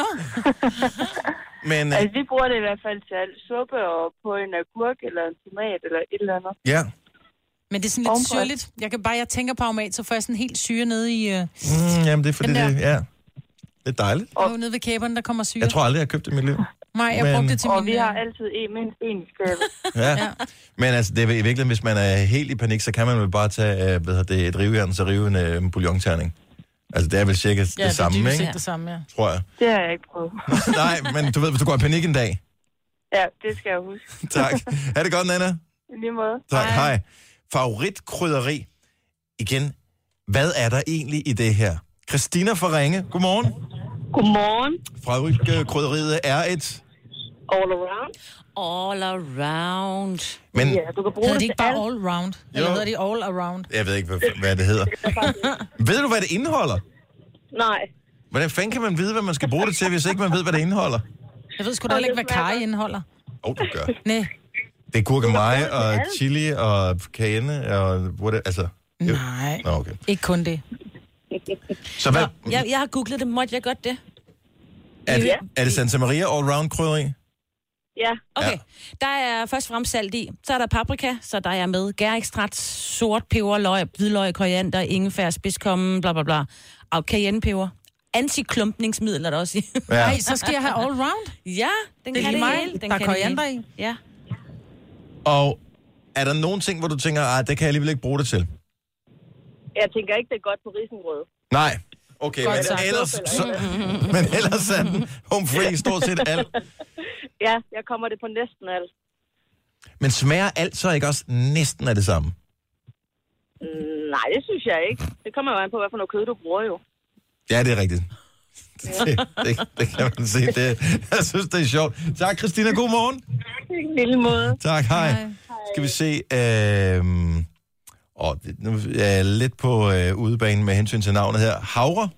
A: Men, øh,
M: Altså, vi bruger det i hvert fald til alt suppe og på en agurk eller en tomat eller et eller andet.
A: ja.
B: Men det er sådan lidt
M: Ovenpå.
B: syrligt. Jeg kan bare, jeg tænker på aromat, så får jeg sådan helt syre nede i... Øh,
A: Mm, jamen, det er fordi,
B: Den der.
A: det, ja. det er dejligt.
B: og... nede ved kæberne, der kommer syre.
A: Jeg tror aldrig, jeg har købt det i mit liv.
B: Nej, jeg
A: Men-
B: brugte det til
M: Og
B: min...
M: vi har
B: øh,
M: altid en mindst en i skabet.
A: Ja. Men altså, det er i virkeligheden, hvis man er helt i panik, så kan man vel bare tage øh, hvad hedder det, et rivejern, så rive en øh, bouillonterning. Altså, det er vel cirka
B: Ja,
A: det samme,
B: det er dybest
A: ikke?
B: set det samme, ja.
A: Tror jeg.
M: Det har jeg ikke prøvet.
A: Nej, men du ved, hvis du går i panik en dag.
M: Ja, det skal jeg huske.
A: Tak. Ha' det godt, Nana.
M: I lige måde.
A: Tak, hej. hej. Favoritkrydderi. Igen, hvad er der egentlig i det her? Christina fra Ringe, godmorgen.
M: Godmorgen.
A: Favoritkrydderiet er et...
M: All around.
C: All around.
A: Men-
M: Ja, du kan bruge
B: Hedder
M: det
B: det ikke
M: til
B: bare
M: alt.
B: all round? Eller
A: Jo.
B: hedder det all around?
A: Jeg ved ikke, hvad, hvad det hedder. ved du, hvad det indeholder?
M: Nej.
A: Hvordan fanden kan man vide, hvad man skal bruge det til, hvis ikke man ved, hvad det indeholder?
B: Jeg ved sgu da heller ikke, hvad kaj indeholder.
A: Åh, oh, det gør.
B: Nej.
A: Det er gurkemeje og chili og cayenne og... Hvor det, altså, jo.
B: Nej.
A: Nå, okay.
B: Ikke kun det.
A: Så hvad,
C: Jeg, jeg har googlet det. Måtte jeg godt det?
A: er, det, er det Santa Maria all-round krydderi?
M: Ja.
C: Okay. Der er først frem salt i. Så er der paprika, så der er med gærekstrakt, sort peber, løg, hvidløg, koriander, ingefær, spidskomme, bla bla bla. Og cayennepeber. Antiklumpningsmiddel er der også i.
A: Ja.
B: Nej, så skal jeg have all round.
C: Ja, den
B: Det er lige
C: kan det
B: mig.
C: hele. Den
B: Der er
C: kan det
B: koriander
C: hele. Ja.
A: Og er der nogen ting, hvor du tænker, at det kan jeg alligevel ikke bruge det til?
M: Jeg tænker ikke, det er godt på risengrød.
A: Nej. Okay,
M: Godt
A: men
M: sagt.
A: ellers, så, men ellers er den home free i stort set alt.
M: Ja, jeg kommer det på næsten alt.
A: Men smager alt så ikke også næsten af det samme?
M: Mm, Nej, det synes jeg ikke. Det kommer jo an på, hvad for noget kød du bruger jo.
A: Ja, det er rigtigt. Det, det, det kan man se. Det, jeg synes, det er sjovt. Tak, Christina. God morgen.
M: En lille måde.
A: Tak, hej. Skal vi se... Øh, og nu er jeg lidt på øh, udebanen med hensyn til navnet her. Havre?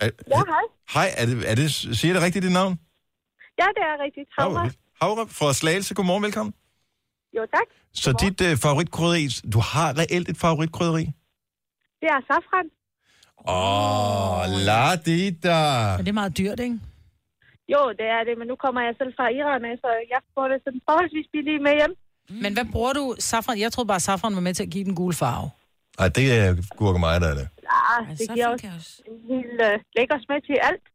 A: Er,
M: Ja, hej.
A: hej, er det, er det, siger det rigtigt dit navn?
M: Ja, det er rigtigt. Havre.
A: Havre fra Slagelse. Godmorgen, velkommen.
M: Jo, tak.
A: Så dit øh, favoritkrydderi, du har reelt et favoritkrydderi?
M: Det er safran.
A: Åh, oh, la di da.
B: Men det er meget dyrt, ikke?
I: Jo, det er det, men nu kommer jeg selv fra Iran, af, så jeg får det sådan forholdsvis billigt med hjem.
C: Mm.
B: Men hvad bruger du safran? Jeg troede bare, at safran var med til at give den gule farve.
A: Ej, det er gurke mig, der er det.
I: Ah,
B: Altså,
I: det giver også en helt øh, lækker smag til alt.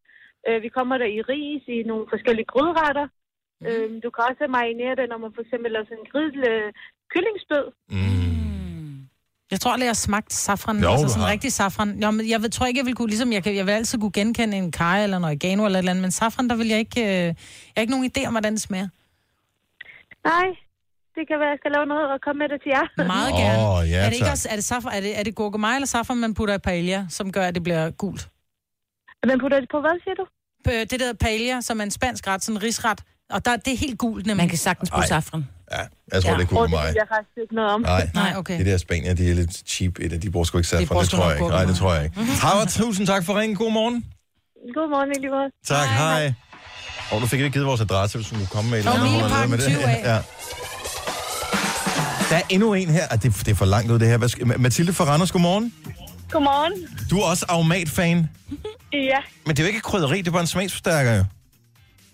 I: Øh, vi kommer der i ris, i nogle forskellige grydretter. Mm.
B: Mhm.
I: Øh, du kan også marinere det, når man for eksempel laver sådan en griddel øh, kyllingstød.
B: Mm. Jeg tror aldrig, jeg har smagt safran.
A: Jo,
B: Jo, altså
A: du
B: sådan
A: har.
B: rigtig safran. Jo, men jeg ved, tror ikke, jeg vil kunne, ligesom jeg, kan, jeg vil altid kunne genkende en kaj eller en oregano eller et eller andet, men safran, der vil jeg ikke, øh, jeg har ikke nogen idé om, hvordan det smager.
I: Nej, det kan være, jeg skal lave noget og komme med det til jer.
B: Meget
A: Åh,
B: gerne.
A: ja,
B: er det ikke
A: tak.
B: også, er det, safran, er det, er det gurkemeje eller safran, man putter i paella, som gør, at det bliver gult?
I: Man putter det på hvad, siger du?
B: Det der hedder paella, som er en spansk ret, sådan en risret. Og der, det er helt gult, nemlig.
C: Man kan sagtens bruge
A: Ej.
C: safran.
A: Jeg tror, ja. det er gurke mig.
I: jeg faktisk ikke noget om.
A: Nej.
B: Nej, okay.
A: Det der Spanier, de er lidt cheap i det. De bruger sgu ikke safran,
B: bruger
A: det
B: sgu
A: tror
B: nok
A: jeg ikke. Nej, det tror jeg ikke. Howard, tusind tak for ringen. God morgen.
I: Godmorgen, i lige måde.
A: Tak, hej. hej. Og du fik ikke givet vores adresse, hvis du kunne komme med et eller
I: Og
A: andet. hvor man
I: milepakken
A: ved med det.
I: 20 af.
A: Ja. Der er endnu en her. Ah, Det, det er for langt ud, det her. Hvad skal, Ma- Mathilde fra Randers, godmorgen.
I: Godmorgen.
A: Du er også aromat-fan,
I: Ja,
A: men det er jo ikke et krydderi, det er bare en smagsforstærker. jo.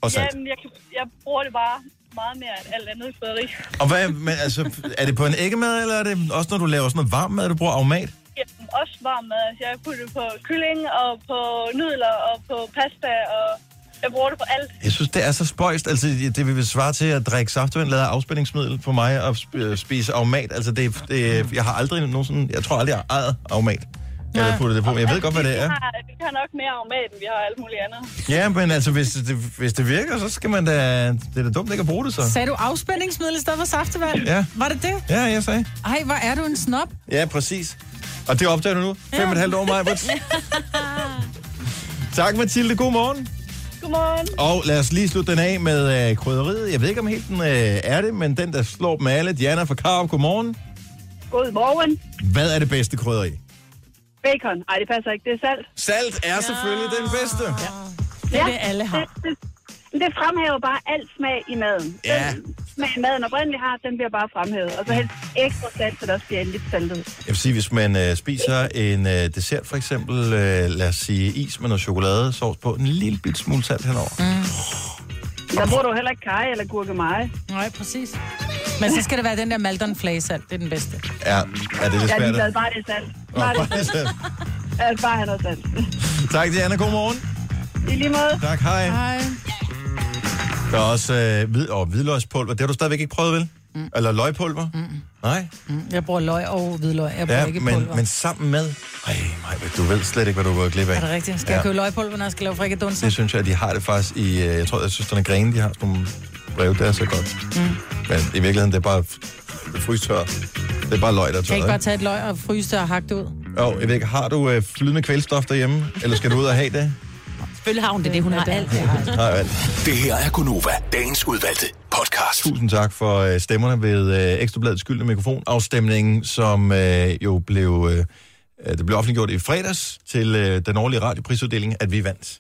A: Og salt.
N: Jamen, jeg, kan- jeg bruger det bare meget mere end alt andet krydderi.
A: Og hvad, men, altså, er det på en æggemad, eller er det også, når du laver sådan noget varm mad, du bruger aromat?
N: Jamen, også varm mad. Altså, jeg putter det på kylling og på nudler og på pasta, og jeg bruger det på alt.
A: Jeg synes, det er så spøjst. Altså, det vil svare til at drikke saftvand, lavet af afspændingsmiddel på mig, og sp- øh, spise aromat. Altså, det, det, jeg har aldrig nogen sådan... Jeg tror aldrig, jeg har ejet aromat. Eller puttet det på. Jeg ved godt, hvad det er.
N: Vi har, vi har nok mere aromat, end vi har alt muligt andet.
A: Ja, men altså, hvis det, hvis det virker, så skal man da... Det er da dumt ikke at bruge det, så.
B: Sagde du afspændingsmiddel i stedet for saftevand?
A: Ja.
B: Var det det?
A: Ja, jeg sagde.
B: Ej, hvor er du en snob.
A: Ja, præcis. Og det opdager du nu. Fem og et halvt år, Maja. Tak, Mathilde. God morgen.
N: Godmorgen.
A: Og lad os lige slutte den af med øh, krydderiet. Jeg ved ikke, om helt den øh, er det, men den, der slår dem alle. Diana fra Karup, godmorgen.
N: Godmorgen.
A: Hvad er det bedste krydderi?
N: Bacon. Ej, det passer ikke. Det er salt.
A: Salt er selvfølgelig den bedste. Ja.
N: Det er det, alle har. Det, det, det fremhæver bare alt smag i maden.
A: Ja.
N: Den smag maden oprindeligt har, den bliver bare fremhævet. Og så helst ekstra salt, så der også bliver en lidt saltet.
A: Jeg vil sige, hvis man øh, spiser en øh, dessert, for eksempel, øh, lad os sige is med noget chokoladesauce på, en lille bit smule salt henover. Mm.
N: Der bruger du heller ikke kaj eller gurkemeje.
B: Nej, præcis. Men så skal det være den der Maldon Flagesalt. Det er den bedste.
A: Ja, er det lidt
N: Jeg er
A: svært?
N: ligeglad, bare det er salt.
A: Nå, bare det er salt.
N: Ja, bare han er salt.
A: Tak, Diana. God morgen.
N: I lige måde.
A: Tak, hej.
B: Hej.
A: Der er også øh, hvid, og hvidløgspulver. Det har du stadigvæk ikke prøvet, vel? Mm. Eller løgpulver? Mm. Nej?
B: Mm, Jeg bruger løg og hvidløg. Jeg bruger
A: Ja,
B: ikke
A: men,
B: pulver.
A: men sammen med... Ej, nej, du ved slet ikke, hvad du er gået glip af.
B: Er det rigtigt? Skal ja. jeg købe løgpulver, når jeg skal lave frikadunser?
A: Det synes jeg, at de har det faktisk i... øh, Jeg tror, at søsterne Grene, de har sådan nogle breve, der er så godt.
B: Mm.
A: Men i virkeligheden, det er bare f- frystør. Det er bare løg, der er
B: Kan jeg
A: tørret.
B: ikke bare tage et løg og fryse det og hakke det ud?
A: ikke? Jo, jeg ved ikke, har du øh, flydende kvælstof derhjemme? Eller skal du ud og have det?
C: Selvfølgelig har hun det, det hun har alt.
A: Nej, vel.
E: Det her er Gunova, dagens udvalgte podcast.
A: Tusind tak for øh, stemmerne ved øh, Ekstrabladets skyldne mikrofonafstemningen, som øh, jo blev, øh, øh, det blev offentliggjort i fredags til øh, den årlige radioprisuddeling, at vi vandt.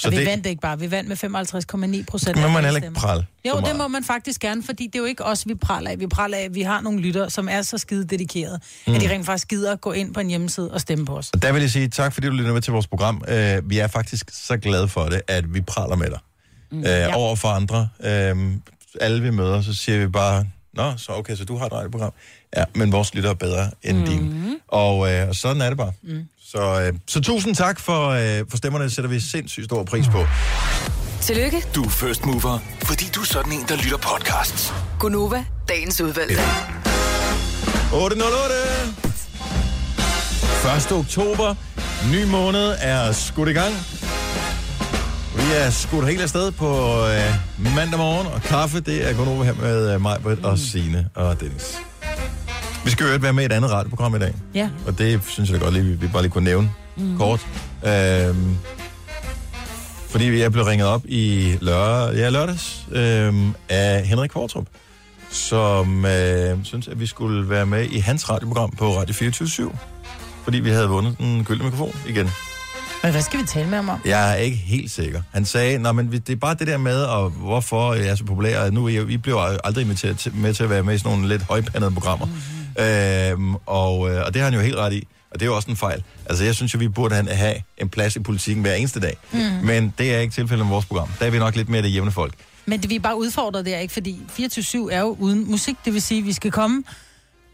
B: Så og vi det... vandt ikke bare. Vi vandt med 55,9 procent.
A: Men må man heller ikke prale for
B: Jo, det
A: meget.
B: må man faktisk gerne, fordi det er jo ikke os, vi praler af. Vi praler af, at vi har nogle lyttere, som er så skide dedikerede, mm.
A: Mm.
B: at de rent faktisk gider at gå ind på en hjemmeside og stemme på os.
A: Og der vil jeg sige tak, fordi du lytter med til vores program. Øh, vi er faktisk så glade for det, at vi praler med dig. Mm, øh, ja. Over for andre. Øh, alle vi møder, så siger vi bare, Nå, så okay, så du har et radioprogram. Ja, men vores lytter er bedre end mm. din. Og øh, og sådan er det bare. Mm. Så, øh, så tusind tak for, øh, for stemmerne. Det sætter vi sindssygt stor pris på.
D: Tillykke,
E: Du er first mover, fordi du er sådan en, der lytter podcasts.
D: Gunova, dagens udvalgte.
A: 808! 1. oktober. Ny måned er skudt i gang. Vi er skudt helt afsted på øh, mandag morgen, og kaffe, det er kun over her med øh, mig, Britt og Signe og Dennis. Vi skal jo i øvrigt være med i et andet radioprogram i dag,
B: Ja.
A: og det synes jeg da godt lige, vi- vi bare lige kunne nævne mm. kort. Øhm, fordi jeg blev ringet op i lørdag, ja, lørdags øhm, af Henrik Kvartrup, som øh, synes, at vi skulle være med i hans radioprogram på Radio 24 fordi vi havde vundet den gyldne mikrofon igen.
B: Men hvad skal vi tale med ham om?
A: Jeg er ikke helt sikker. Han sagde, nej, men vi- det er bare det der med, og hvorfor jeg er så populær, og nu er jeg, vi bliver jo aldrig inviteret til, med til at være med i sådan nogle lidt højpandede programmer. Mm-hmm. Øhm, og, øh, og det har han jo helt ret i. Og det er jo også en fejl. Altså, jeg synes jo, vi burde han- have en plads i politikken hver eneste dag. Mm. Men det er ikke tilfældet med vores program. Der er vi nok lidt mere det jævne folk.
B: Men det, vi er bare udfordret der, ikke? Fordi 24-7 er jo uden musik, det vil sige, at vi skal komme,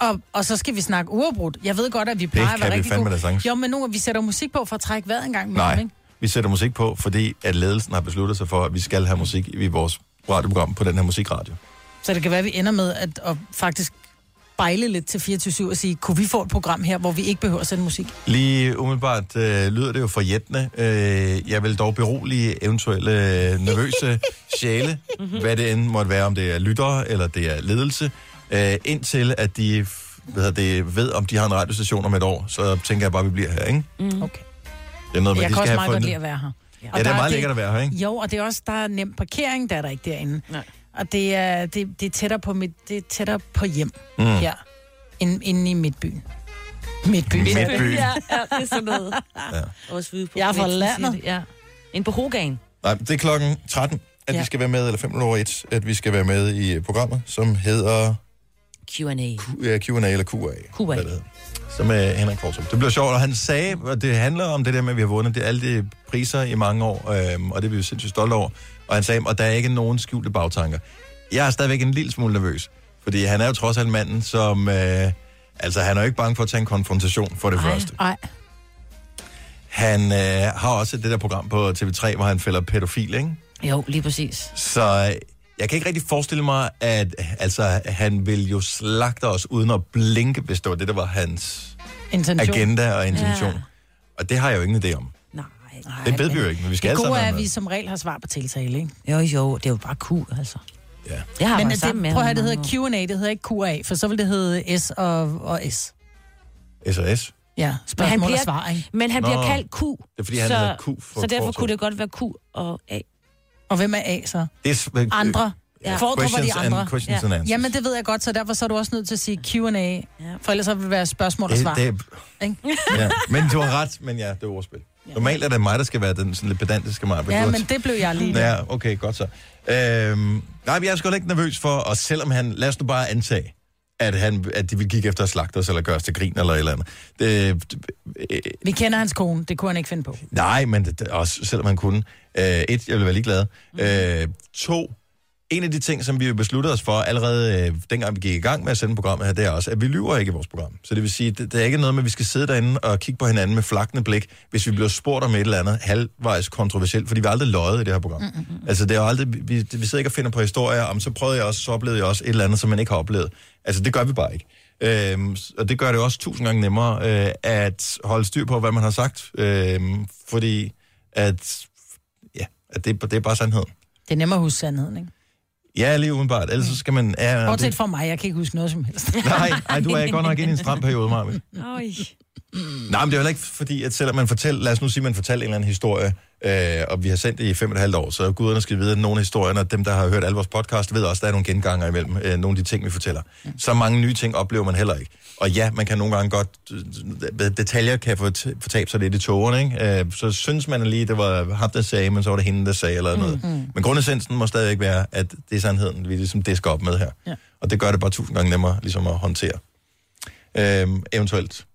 B: og, og så skal vi snakke uafbrudt. Jeg ved godt, at vi plejer
A: kan
B: at være
A: vi
B: rigtig
A: fandme da
B: gode.
A: sagtens.
B: Jo, men nu, vi sætter musik på for at trække vejret en gang med
A: Nej, vi sætter musik på, fordi at ledelsen har besluttet sig for, at vi skal have musik i vores radioprogram på den her musikradio.
B: Så det kan være, at vi ender med at, at faktisk bejle lidt til 24-7 og sige, kunne vi få et program her, hvor vi ikke behøver at sende musik?
A: Lige umiddelbart øh, lyder det jo for jættende. Øh, jeg vil dog berolige eventuelle øh, nervøse sjæle, hvad det end måtte være, om det er lyttere eller det er ledelse, øh, indtil at de f- hvad hedder det, ved, om de har en radiostation om et år, så tænker jeg bare, at vi bliver her, ikke?
B: Mm. Okay.
A: Det er noget,
B: jeg kan også
A: have
B: meget godt
A: fundet-
B: lide at være her.
A: Ja, det er meget lækkert at være her, ikke?
B: Jo, og det er også, der er nem parkering, der er der ikke derinde. Nej. Og det er, det, det er tættere på mit, det er tættere på hjem
A: Mm.
B: mm. her, end, inde i midtbyen. Midtbyen.
A: Midtbyen.
C: Ja, ja, det er sådan noget.
A: Ja.
C: Vores ude på
B: Jeg er fra
C: Kvæsten siger
B: landet.
C: det, Ja. En på Hogan.
A: Nej, det er klokken 13, at ja.
C: Ja.
A: vi skal være med, eller 5 over 1, at vi skal være med i øh, programmet, som hedder...
C: Q&A.
A: Q, ja, Q&A eller Q&A.
C: Q&A.
A: hvad det hedder, Som er Henrik Forsum. Det bliver sjovt, og han sagde, og det handler om det der med, at vi har vundet det, alle de priser i mange år, øhm, og det er vi jo sindssygt stolte over. Og han sagde, og der er ikke nogen skjulte bagtanker. Jeg er stadigvæk en lille smule nervøs, fordi han er jo trods alt manden, som... Øh, altså, han er jo ikke bange for at tage en konfrontation for det Ej. første.
B: Nej.
A: Han øh, har også det der program på TV3, hvor han fælder pædofil, ikke?
C: Jo, lige præcis.
A: Så øh, jeg kan ikke rigtig forestille mig, at altså, han vil jo slagte os uden at blinke, hvis det var det, der var hans
B: Intention.
A: agenda og intention. Ja.
B: Ja.
A: Og det har jeg jo ingen idé om.
B: Nej,
A: Det ved vi jo ikke, men vi skal
B: det
A: alle
B: gode
A: sammen
B: er,
A: være
B: at
A: med.
B: vi som regel har svar på tiltale, ikke?
C: Jo, jo, det er jo bare Q, altså.
A: Ja.
C: Jeg har
B: men øh,
C: været
B: det,
C: sammen med
B: prøv at
C: ham
B: høre, det hedder
C: mange
B: Q&A, det hedder ikke Q&A, for så vil det hedde S og, og S.
A: SOS.
B: Ja,
C: Men han
B: spørgsmål
C: bliver,
B: og svar, ikke?
C: men han bliver
A: Nå.
C: kaldt Q. Det
A: er, fordi han
C: så,
A: hedder Q for
C: Så derfor
A: Qvortrup.
C: kunne det godt være Q og A.
B: Og hvem er A så?
A: Det er, s- øh,
B: Andre.
A: Ja.
B: Ja. Foregår de
A: Questions and-
B: andre.
A: questions and answers.
B: Jamen, det ved jeg godt, så derfor så er du også nødt til at sige Q&A, ja. for ellers så vil det være spørgsmål og
A: Det-
B: svar.
A: det-
B: Ikke?
A: Ja. Men du har ret, men ja, det er ordspil. Normalt er det mig, der skal være den sådan lidt pedantiske mig.
B: Ja, men det blev jeg lige.
A: Ja, okay, godt så. Øhm, nej, men jeg er sgu heller ikke nervøs for, og selvom han, lad os nu bare antage, at, han, at de vil kigge efter at slagte os, eller gøre os til grin, eller et eller andet. Det, det- øh,
B: Vi kender hans kone, det kunne han ikke finde på.
A: nej, men det, det- også selvom han kunne. Øh, et, jeg ville være ligeglad. Øh, to, en af de ting, som vi jo besluttede os for allerede øh, dengang vi gik i gang med at sende programmet her, det er også, at vi lyver ikke i vores program. Så det vil sige, det, det er ikke noget med, at vi skal sidde derinde og kigge på hinanden med flakne blik, hvis vi bliver spurgt om et eller andet halvvejs kontroversielt, fordi vi har aldrig løjet i det her program. Mm-hmm. Altså, det er jo aldrig, vi, vi sidder ikke og finder på historier om, så prøvede jeg også, så oplevede jeg også et eller andet, som man ikke har oplevet. Altså, det gør vi bare ikke. Øhm, s- og det gør det også tusind gange nemmere øh, at holde styr på, hvad man har sagt, øhm, fordi at, ja, at det, det er bare sandheden.
B: Det er nemmere at huske sandheden, ikke?
A: Ja, lige udenbart. Ellers så skal man... Ja, ja,
B: Bortset fra mig, jeg kan ikke huske noget som helst.
A: Nej, nej, du er godt nok inde i en stram periode, Marvind.
C: Øj.
A: Nej, men det er heller ikke fordi, at selvom man fortæller... Lad os nu sige, at man fortæller en eller anden historie, øh, og vi har sendt det i fem og et halvt år, så guderne skal vide, at nogle af historierne, og dem, der har hørt alle vores podcast, ved også, at der er nogle genganger imellem øh, nogle af de ting, vi fortæller. Så mange nye ting oplever man heller ikke. Og ja, man kan nogle gange godt... øh, Detaljer kan fort- fortabe sig lidt i tågerne, ikke? Øh, så synes man lige, det var ham, der sagde, men så var det hende, der sagde, eller noget. Mm. Men grundessensen må stadigvæk være, at det er sandheden, vi ligesom disker op med her. Ja. Og det gør det bare tusind gange nemmere ligesom at håndtere. Øhm, eventuelt,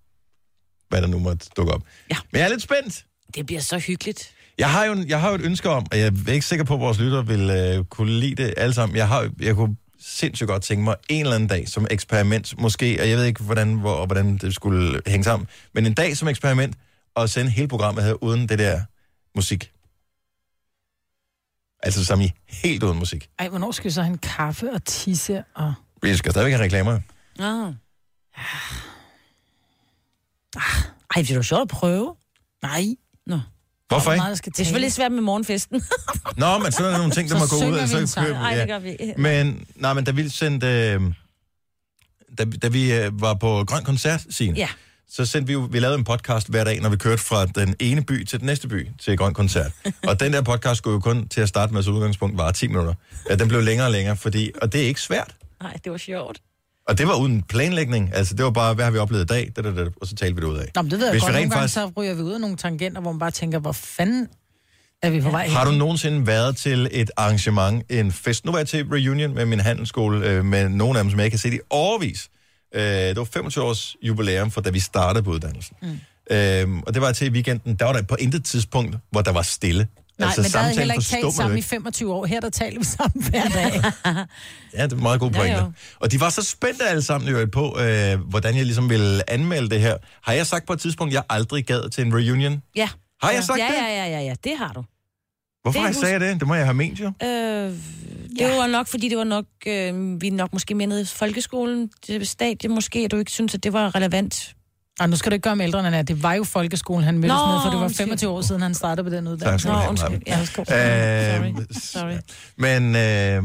A: hvad der nu måtte dukke op. Ja. Men jeg er lidt spændt.
C: Det bliver så hyggeligt.
A: Jeg har jo, en- jeg har jo et ønske om, og jeg er ikke sikker på, at vores lytter vil øh, kunne lide det alle sammen. Jeg, har, jeg kunne sindssygt godt tænke mig en eller anden dag som eksperiment, måske, og jeg ved ikke, hvordan, hvor, og hvordan det skulle hænge sammen, men en dag som eksperiment, og sende hele programmet her uden det der musik. Altså som i helt uden musik.
B: Ej, hvornår skal vi så have en kaffe og tisse og...
A: Vi skal stadigvæk have reklamer.
C: Ah. Ah. Ej, det er jo sjovt at prøve.
B: Nej.
C: Nå.
A: Hvorfor ikke?
C: Det er selvfølgelig svært med morgenfesten.
A: Nå, men sådan er der nogle ting, der må
C: Så
A: gå ud,
C: synger
A: og
C: vi en
A: så
C: sang.
A: kører vi.
C: Ej,
A: ja.
C: det gør vi.
A: Men, nej, men da vi sendte... Øh, da, da vi øh, var på Grøn Koncert, Signe,
C: Ja.
A: så sendte vi jo, vi lavede en podcast hver dag, når vi kørte fra den ene by til den næste by til Grøn Koncert. og den der podcast skulle jo kun til at starte med, så udgangspunkt var 10 minutter. Ja, den blev længere og længere, fordi, og det er ikke svært.
C: Nej, det var sjovt.
A: Og det var uden planlægning. Altså, det var bare, hvad har vi oplevet i dag? Da, da, da, og så talte vi det ud af.
B: Nå, men det ved jeg
A: Hvis vi
B: godt. Nogle
A: rent
B: gange
A: faktisk...
B: så ryger vi ud af nogle tangenter, hvor man bare tænker, hvor fanden er vi på vej
A: Har du
B: hen?
A: nogensinde været til et arrangement, en fest? Nu var jeg til reunion med min handelsskole, øh, med nogle af dem, som jeg ikke har set i overvis. Øh, det var 25 års jubilæum for, da vi startede på uddannelsen. Mm. Øhm, og det var til i weekenden. Der var der på intet tidspunkt, hvor der var stille.
B: Nej, altså, men der havde
A: samtalen
B: heller ikke
A: forstummede
B: talt sammen
A: jo
B: i 25 år. Her der taler vi sammen hver dag.
A: Ja, det er meget gode
B: Ja,
A: pointer.
B: jo.
A: Og de var så spændte alle sammen i øvrigt på, øh, hvordan jeg ligesom ville anmelde det her. Har jeg sagt på et tidspunkt, at jeg aldrig gad til en reunion?
C: Ja.
A: Har jeg sagt
C: ja,
A: det?
C: Ja, ja, ja, ja, det har du.
A: Hvorfor
C: Det
A: har jeg
C: husker-
A: sagde jeg det? Det må jeg have ment jo.
C: Øh, det ja. var nok, fordi det var nok, øh, vi er nok måske mindede folkeskolen, det stadie måske, at du ikke synes, at det var relevant.
B: Og nu skal du ikke gøre med ældre, Nana. Det var jo folkeskolen, han mødtes
C: Nå,
B: med, for det var
C: undskyld.
B: 25 år siden, han startede på den
A: Tak
B: uddannelse.
A: skal du have, Maja.
B: Ja, værsgo.
A: Øh,
C: Sorry.
A: Men, øh,
C: Ja,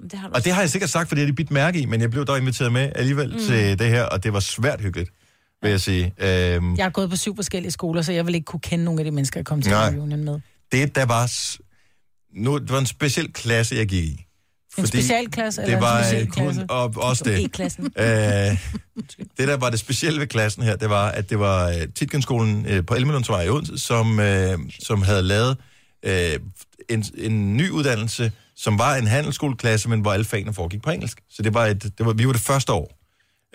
C: men det har du
A: og det har jeg sikkert sagt, fordi jeg lige bidt mærke i, men jeg blev dog inviteret med alligevel
B: Mm.
A: mm. til det her, og det var svært hyggeligt, vil jeg sige. Øh,
B: Jeg har gået på syv forskellige skoler, så jeg vil ikke kunne kende nogen af de mennesker, jeg kom til
A: Nej.
B: reunion med.
A: det, der var... S- nu, det var en speciel klasse, jeg gik i.
B: En
A: Fordi
B: specialklasse eller
A: det var
B: en
A: øh,
B: specialklasse?
A: kun og, også det.
B: E-klassen.
A: Øh, det, der var det specielle ved klassen her, det var, at det var øh, Titkenskolen øh, på Elmelundsvej i Odense, som, øh, som havde lavet øh, en, en ny uddannelse, som var en handelsskoleklasse, men hvor alle fagene foregik på engelsk. Så det var et, det var, vi var det første år.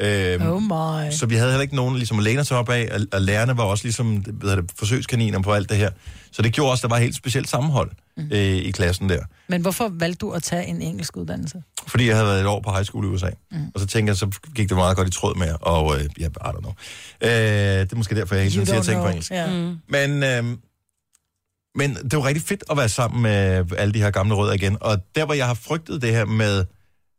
A: Øh,
B: Oh my.
A: så vi havde heller ikke nogen ligesom, at læne sig op af, og, og lærerne var også ligesom, hvad hedder det, forsøgskaniner på alt det her. Så det gjorde også, at der var et helt specielt sammenhold øh, i klassen der.
B: Men hvorfor valgte du at tage en engelsk uddannelse?
A: Fordi jeg havde været et år på high school i USA. Mm. Og så tænkte jeg, så gik det meget godt i tråd med, og øh, ja, I don't know. Øh, det er måske derfor, jeg hele tiden siger ting på engelsk.
B: Ja. Mm.
A: Men, øh, men det var rigtig fedt at være sammen med alle de her gamle rødder igen. Og der, hvor jeg har frygtet det her med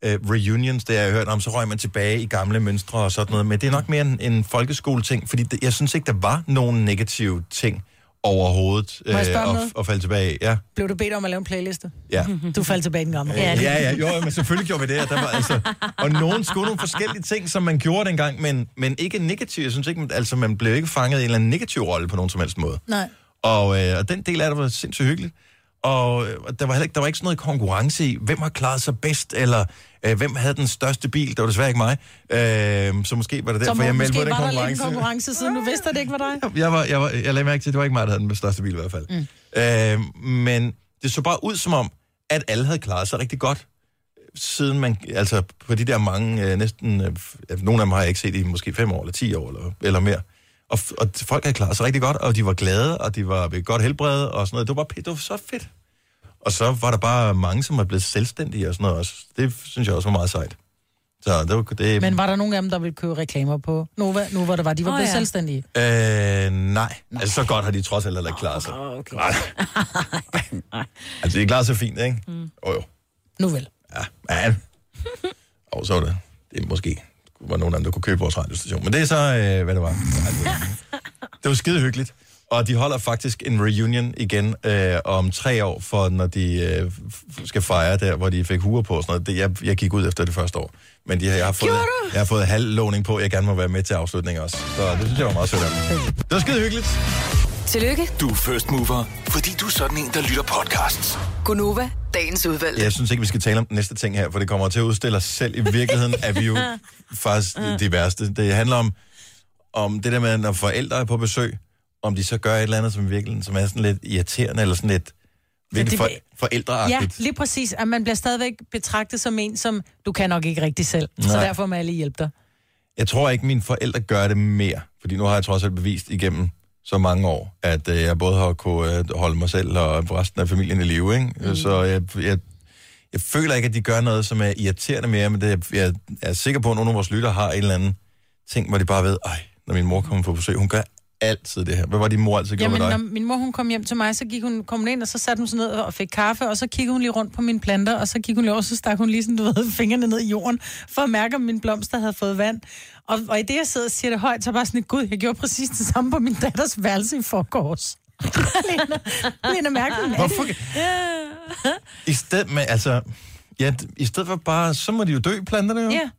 A: øh, reunions, det er, jeg har hørt om, så røg man tilbage i gamle mønstre og sådan noget. Men det er nok mere en, en folkeskoleting, fordi det, jeg synes ikke, der var nogen negative ting overhovedet øh,
B: Må jeg spørge om
A: at,
B: noget? Mhm.
A: at falde tilbage i. Ja.
B: Blev du bedt om at lave en playliste?
A: Ja.
B: Du faldt tilbage i den gamle.
A: Ja, ja, ja, jo, men selvfølgelig gjorde vi det. og Der var, altså, og nogen skulle nogle forskellige ting, som man gjorde dengang, men, men ikke negativt. Jeg synes ikke, man- altså, man blev ikke fanget i en eller anden negativ rolle på nogen som helst måde.
B: Nej.
A: Og, øh, og den del af det var sindssygt hyggeligt. Og øh, og der var heller ikke, der var ikke sådan noget konkurrence i, hvem har klaret sig bedst, eller øh, hvem havde den største bil. Det var desværre ikke mig. Øh, så måske var det
B: Så
A: derfor,
B: må,
A: jeg meldte på
B: måske
A: den
B: var der lidt en
A: konkurrence.
B: konkurrence, siden du vidste, at det ikke var dig.
A: Jeg, var, jeg, var, jeg lagde mærke til, at det var ikke mig, der havde den største bil i hvert fald. Mm. Øh, men det så bare ud som om, at alle havde klaret sig rigtig godt, siden man, altså på de der mange, øh, næsten, øh, f- nogle af dem har jeg ikke set i måske fem år, eller ti år, eller, eller mere. Og, f- og folk havde klaret sig rigtig godt, og de var glade, og de var ved godt helbredet, og sådan noget. Det var bare p- det var så fedt. Og så var der bare mange, som var blevet selvstændige og sådan noget også. Det synes jeg også var meget sejt. Så det var... Det,
B: Men var der nogen af dem, der ville købe reklamer på Nova, nu hvor det var, de var
A: Åh,
B: blevet
A: ja.
B: selvstændige?
A: Øh, nej. Altså, så godt har de trods alt heller ikke klaret sig. Oh, okay. altså, de klarer sig fint, ikke? Åh, mm. oh, jo.
B: Nu vel.
A: Ja, men... Og så var det... Det er måske var nogen af dem, der kunne købe vores radiostation. Men det er så, øh, hvad det var. Det var skide hyggeligt. Og de holder faktisk en reunion igen øh, om tre år, for når de øh, f- skal fejre der, hvor de fik huer på og sådan noget. Det, jeg, jeg gik ud efter det første år. Men de, jeg, har fået, jeg har fået halv lovning på, at jeg gerne må være med til afslutningen også. Så det synes jeg var meget sødt af dem. Det var skide hyggeligt.
D: Tillykke,
E: Du er first mover, fordi du er sådan en, der lytter podcasts.
D: Gunova, dagens udvalgte.
A: Jeg synes ikke, vi skal tale om den næste ting her, for det kommer til at udstille os selv. I virkeligheden er vi jo faktisk de værste. Det handler om, om det der med, når forældre er på besøg, om de så gør et eller andet, som, virkelig, som er sådan lidt irriterende, eller sådan lidt virkelig
B: det
A: for,
B: vil- Ja,
A: forældreagtigt.
B: lige præcis. At man bliver stadigvæk betragtet som en, som du kan nok ikke rigtig selv. Nej. Så
A: Nej.
B: derfor må alle hjælpe dig.
A: Jeg tror ikke, mine forældre gør det mere, fordi nu har jeg trods alt bevist igennem så mange år, at øh, jeg både har kunnet øh, holde mig selv og resten af familien i live, ikke? Mm. Så jeg, jeg, jeg føler ikke, at de gør noget, som er irriterende mere, men det, jeg er sikker på, at nogle af vores lytter har en eller anden ting, hvor de bare ved, ej, når min mor kommer på besøg, hun gør altid det her. Hvad var din mor altid gjorde
B: Jamen,
A: med
B: når
A: dig?
B: min mor hun kom hjem til mig, så gik hun, kom hun ind, og så satte hun sig ned og fik kaffe, og så kiggede hun lige rundt på mine planter, og så gik hun lige over, så stak hun lige sådan, du ved, fingrene ned i jorden, for at mærke, om mine blomster havde fået vand. Og, og i det, jeg sidder og siger det højt, så er jeg bare sådan, gud, jeg gjorde præcis det samme på min datters værelse i forgårs. Lena, Lena Mærken.
A: Hvorfor? I stedet med, altså, ja, d- i stedet for bare, så må de jo dø, planterne jo.
B: Ja.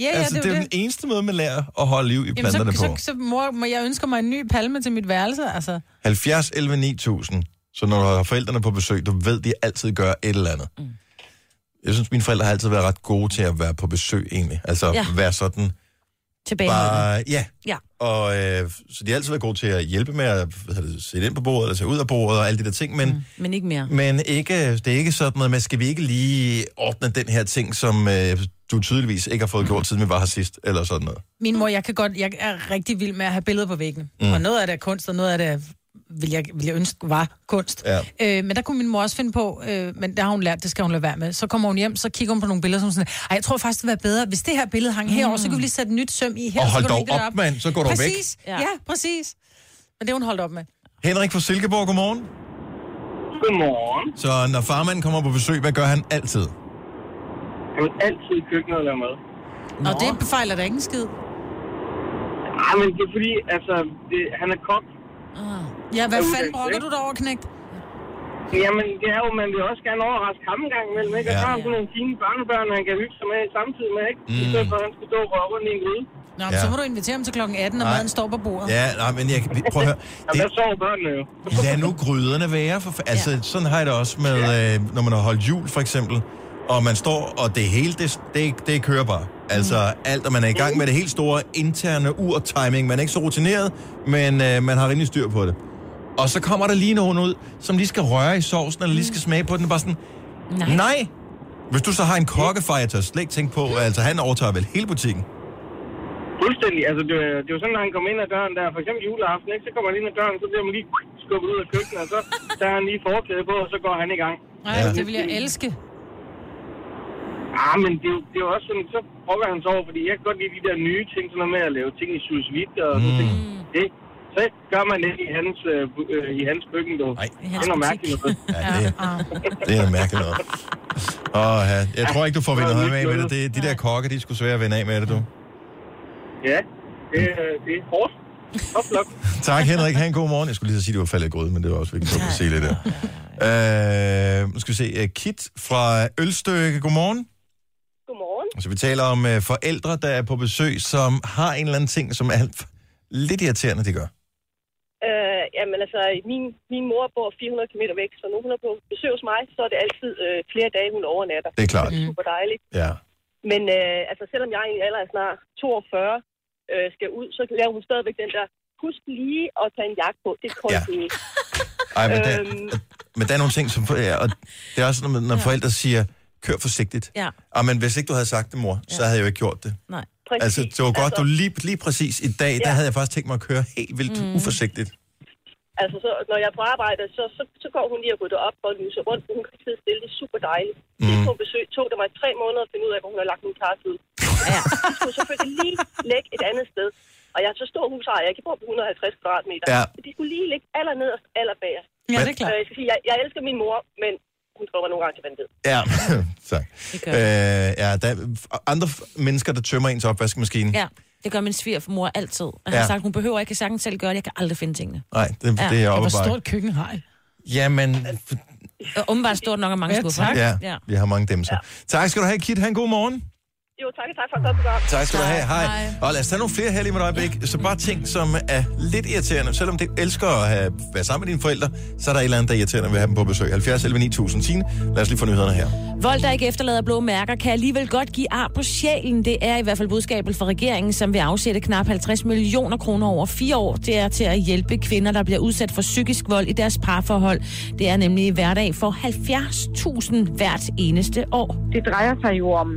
B: Ja, ja,
A: altså, det, er jo den eneste måde, man lærer at holde liv i planterne
B: Jamen, så,
A: på.
B: Så, så mor, må jeg ønsker mig en ny palme til mit værelse, altså.
A: 70 11 9000. Så når du har forældrene på besøg, du ved, de altid gør et eller andet. Mm. Jeg synes, mine forældre har altid været ret gode til at være på besøg, egentlig. Altså
B: Ja.
A: ja. være sådan, Bare, ja.
C: Ja.
A: Og, øh, så de har altid været gode til at hjælpe med at hvad hedder det, sætte ind på bordet, eller tage ud af bordet og alle de der ting, men... Mm.
C: Men ikke mere.
A: Men ikke, det er ikke sådan noget med, skal vi ikke lige ordne den her ting, som øh, du tydeligvis ikke har fået gjort, siden vi var her sidst, eller sådan noget.
B: Min mor, jeg kan godt, jeg er rigtig vild med at have billeder på væggene.
A: Mm.
B: Mm. Og noget af det er kunst, og noget af det er, vil jeg, vil jeg ønske var kunst.
A: Ja.
B: Øh, men der kunne min mor også finde på, øh, men der har hun lært, det skal hun lade være med. Så kommer hun hjem, så kigger hun på nogle billeder, som sådan, Ej, jeg tror faktisk, det ville være bedre, hvis det her billede hang mm. herover, så kunne vi lige sætte et nyt søm i her.
A: Og
B: så
A: hold
B: kunne du
A: dog
B: hænge det
A: op, mand, så går du væk.
B: Præcis, ja. ja, præcis. Men det er hun holdt op med.
A: Henrik fra Silkeborg, godmorgen.
O: Godmorgen.
A: Så når farmanden kommer på besøg, hvad gør han altid?
O: Jeg vil altid i køkkenet og lave mad.
B: Nå. Og det fejler da ikke en skid.
O: Nej, Ah, men det er fordi, altså, det, han er kok.
B: Ja, hvad
O: Jeg er
B: fanden
O: uddannet,
B: brokker
O: ikke?
B: du dig over, knægt?
O: Jamen, det er jo, man vil også gerne overraske ham en gang imellem, ikke? Og
A: Ja.
O: så har han sådan nogle fine børnebørn, han kan hygge sig med samtidig med, ikke? Mm. I
A: Mm.
O: stedet for, at han skal stå og røre rundt i en gryde.
B: Nå,
A: Ja.
B: ja. så må du invitere ham til klokken 18, når
A: Nej.
B: maden står på bordet.
A: Ja, nej, men jeg, vi- prøv at høre. Det,
O: Der sover børnene jo.
A: lad nu gryderne være. For, fa- altså, sådan har jeg det også med, øh, når man har holdt jul, for eksempel. Og man står, og det hele, det, det, det kører bare. Altså alt, og man er i gang med det helt store interne ur-timing. Man er ikke så rutineret, men øh, man har rimelig styr på det. Og så kommer der lige nogen ud, som lige skal røre i sovsen, eller lige skal smage på den, og bare sådan, Mm. nej. nej. Hvis du så har en kokkefejl, tør jeg slet ikke tænke på, altså han overtager vel hele butikken.
O: Fuldstændig. Altså, det, er- det er jo sådan, når han kommer ind ad døren der. For eksempel juleaften, ikke? Så kommer han ind ad døren, så bliver man lige skubbet ud af køkkenet, og så tager han lige forklæde på, og så går han i gang.
B: Nej,
O: Ja.
B: ja. det vil jeg elske.
O: Ah, men det, er jo- det er jo også sådan, så brokker han sig over, fordi jeg kan godt lide de der nye ting, sådan noget med at lave ting i sous vide og sådan ting.
A: Mm.
O: Det, så gør man det i hans, øh, bu- øh, i hans køkken, dog. Det er noget mærkeligt noget.
B: Ah.
A: Det er da mærkeligt noget. Åh, ja. jeg tror ikke, du får vindet højme af med det. det. De der kokke, de skulle svære at vinde af med det, du.
O: Ja, det, er- det er hårdt. Top nok.
A: Tak, Henrik. Ha' en god morgen. Jeg skulle lige så sige, at det var faldet i grød, men det var også vigtigt at sige lidt der. Øh, nu skal vi se. øh, Kit fra Ølstykke. Godmorgen.
J: Godmorgen.
A: Så vi taler om øh, forældre, der er på besøg, som har en eller anden ting, som er lidt irriterende, de gør.
J: Øh, jamen altså, min, min mor bor 400 km væk, så når hun er på besøg hos mig, så er det altid øh, flere dage, hun overnatter.
A: Det er klart.
J: Det er super dejligt.
A: Ja.
J: Men øh, altså, selvom jeg egentlig allerede er snart 42 øh, skal ud, så laver hun stadigvæk den der, husk lige at tage en jakke på, det er koldt ja.
A: Ej, men, der, men der er nogle ting, som... Ja, og det er også, når, når forældre siger, kør forsigtigt.
C: Ja.
A: Ah, men hvis ikke du havde sagt det, mor, så havde jeg jo ikke gjort det.
C: Nej.
J: Præcis.
A: Altså, det var godt,
J: Altså-
A: altså... du lige, lige præcis i dag, ja. der
J: Ja.
A: havde jeg faktisk tænkt mig at køre helt vildt
J: Mm.
A: mm. uforsigtigt.
J: Altså, så, når jeg er på arbejde, så, så, så går hun lige og rydder op og lyser rundt, og hun kan sidde stille. Det er super dejligt. Mm. Det tog, besøg, tog det mig tre måneder at finde ud af, hvor hun har lagt min kars ud. Ja. De skulle selvfølgelig lige lægge et andet sted. Og jeg er så stor husejer, jeg kan bo på 150 kvadratmeter.
A: Ja.
J: Så de skulle lige ligge aller nederst, aller bagerst.
A: Ja, det er klart.
J: Øh, jeg, skal sige, jeg, jeg elsker min mor, men hun tror mig nogle gange til vanvid.
A: Ja, tak. Øh, ja, der er andre f- mennesker, der tømmer ens opvaskemaskine.
C: Ja, det gør min svigermor altid. Og han
A: Ja.
C: har sagt, hun behøver ikke sagtens selv gøre det. Jeg kan aldrig finde tingene.
A: Nej, det, ja. det er oppe bare.
B: køkken har jeg?
A: Jamen,
C: Og umiddelbart stort nok og mange
A: Ja,
C: skuffer.
A: tak. Ja,
C: ja.
A: vi har mange demser. Ja. Tak skal du have, Kit. Ha' en god morgen.
J: Jo, tak, tak for et godt program.
A: Tak skal du have. Hej. Og lad os tage nogle flere her lige med et øjeblik. Så bare ting, som er lidt irriterende. Selvom du elsker at have, være sammen med dine forældre, så er der et eller andet, der er irriterende ved at have dem på besøg. 70 11 9000. Signe, lad os lige få nyhederne her.
C: Vold, der ikke efterlader blå mærker, kan alligevel godt give ar på sjælen. Det er i hvert fald budskabet fra regeringen, som vil afsætte knap 50 millioner kroner over fire år. Det er til at hjælpe kvinder, der bliver udsat for psykisk vold i deres parforhold. Det er nemlig hverdag for 70.000 hvert eneste år.
P: Det drejer sig jo om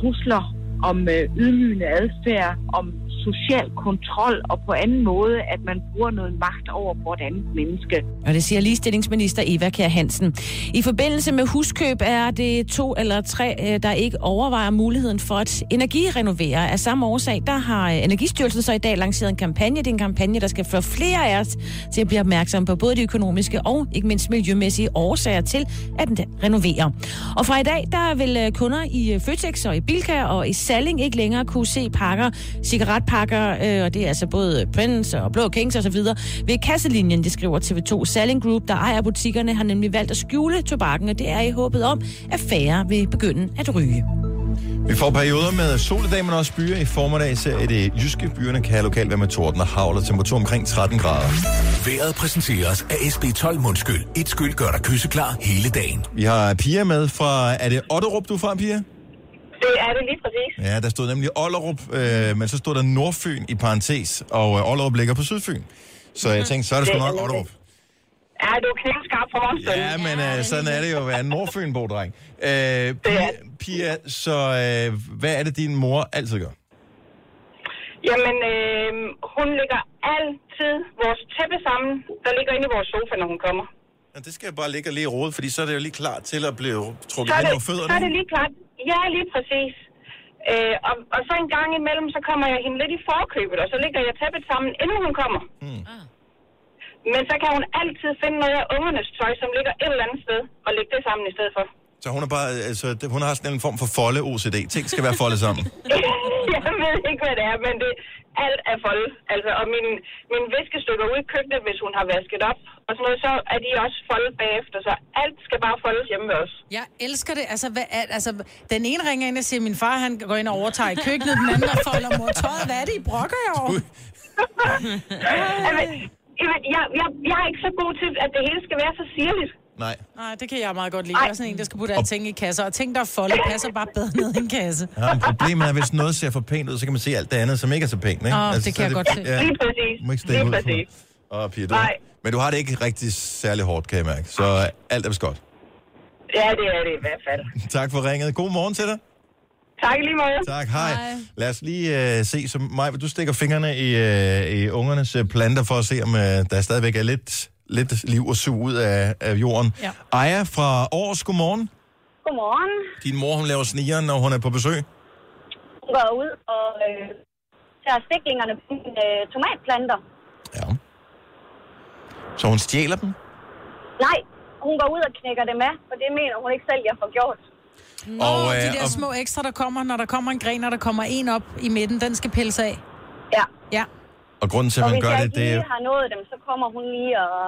P: trusler, om øh, ydmygende adfærd, om social kontrol og på anden måde, at man bruger noget magt over for et andet menneske.
C: Og det siger ligestillingsminister Eva Kjær Hansen. I forbindelse med huskøb er det to eller tre, øh, der ikke overvejer muligheden for at energirenovere. Af samme årsag, der har øh, Energistyrelsen så i dag lanceret en kampagne. Det er en kampagne, der skal få flere af os til at blive opmærksomme på både de økonomiske og ikke mindst miljømæssige årsager til at renovere. Og fra i dag, der vil øh, kunder i øh, Føtex og i Bilka og i Salling ikke længere kunne se pakker, cigaretpakker, øh, og det er altså både Prince og Blå Kings osv., ved kasselinjen, det skriver TV2. Salling Group, der ejer butikkerne, har nemlig valgt at skjule tobakken, og det er i håbet om, at færre vil begynde at ryge.
A: Vi får perioder med sol i dag, men også byer. I formiddag især i det jyske. Byerne kan lokalt være med torden og havl og temperatur omkring 13 grader.
E: Været præsenteres af SB12 Mundskyld. Et skyld gør dig kysseklar hele dagen.
A: Vi har Pia med fra... Er det Otterup, du er fra, Pia?
Q: Det er det lige præcis.
A: Ja, der stod nemlig Ollerup, øh, men så stod der Nordfyn i parentes, og øh, Ollerup ligger på Sydfyn. Så jeg tænkte, så er det sgu nok Ollerup.
Q: Ja, du er knivskarp for vores
A: Ja, men øh, sådan er det jo at være en Nordfynbo, dreng. Øh, Pia, Pia, så øh, hvad er det, din mor altid gør?
Q: Jamen, øh, hun lægger altid vores tæppe sammen, der ligger inde i vores sofa, når hun kommer.
A: Ja, det skal jeg bare ligge og lige rode, fordi så er det jo lige klar til at blive trukket
Q: Så er,
A: hen
Q: det,
A: over fødderne.
Q: så er det lige klart. Ja, lige præcis. Øh, og, og så en gang imellem, så kommer jeg hende lidt i forkøbet, og så ligger jeg tæppet sammen, inden hun kommer. Mm.
J: Ah.
Q: Men så kan hun altid finde noget af ungernes tøj, som ligger et eller andet sted, og lægge det sammen i stedet for.
A: Så hun, er bare, altså, det- hun har sådan en form for folde-OCD. Ting skal være foldet sammen.
Q: jeg ved ikke, hvad det er, men det, alt er foldet. Altså, og mine, mine viskestykker ude i køkkenet, hvis hun har vasket op, og sådan noget, så er de også foldet bagefter. Så alt skal bare foldes hjemme ved os.
B: Jeg elsker det. Altså, hvad er, altså, den ene ringer ind og siger, at min far han går ind og overtager i køkkenet, den anden der folder mor tøjet. Hvad er det, I brokker jer over?
Q: Jamen, jamen, jeg, jeg, jeg er ikke så god til, at det hele skal være så sirligt.
A: Nej.
B: Nej, det kan jeg meget godt lide. Jeg er sådan en, der skal putte alting i kasser, og ting, der er foldet, passer bare bedre ned i en kasse.
A: Ja, men problemet er, hvis noget ser for pænt ud, så kan man se alt det andet, som ikke er så pænt. Ikke? Altså,
B: Åh, det kan
A: så er
B: jeg godt se.
A: Ja,
B: Lige
Q: præcis.
A: Må ikke stikke ud for det. Åh, Pia, du,
Q: Nej.
A: men du har det ikke rigtig særlig hårdt, kan jeg mærke. Så alt er vist godt.
Q: Ja, det er det i hvert fald.
A: Tak for ringet. God morgen til dig.
Q: Tak i lige måde.
A: Tak, hej. Lad os lige øh, se, som Maj, du stikker fingrene i, øh, i ungernes øh, planter for at se, om øh, der stadigvæk er lidt, lidt liv at suge ud af, af jorden.
R: Ja.
A: Aja fra Aarhus, godmorgen.
R: Godmorgen.
A: Din mor, hun laver snigeren, når hun er på besøg.
R: Hun går ud og øh, tager stiklingerne på mine øh, tomatplanter.
A: Så hun stjæler dem.
R: Nej, hun går ud og knækker dem af, for det mener hun ikke selv, jeg får gjort.
B: Nå, og, øh, de der og... små ekstra, der kommer, når der kommer en gren, og der kommer en op i midten, den skal pilles af.
R: Ja.
B: Ja.
A: Og grunden til, at
R: og
A: man
R: hvis
A: gør
R: jeg
A: det,
R: ikke
A: det er...
R: lige har nået dem, så kommer hun lige og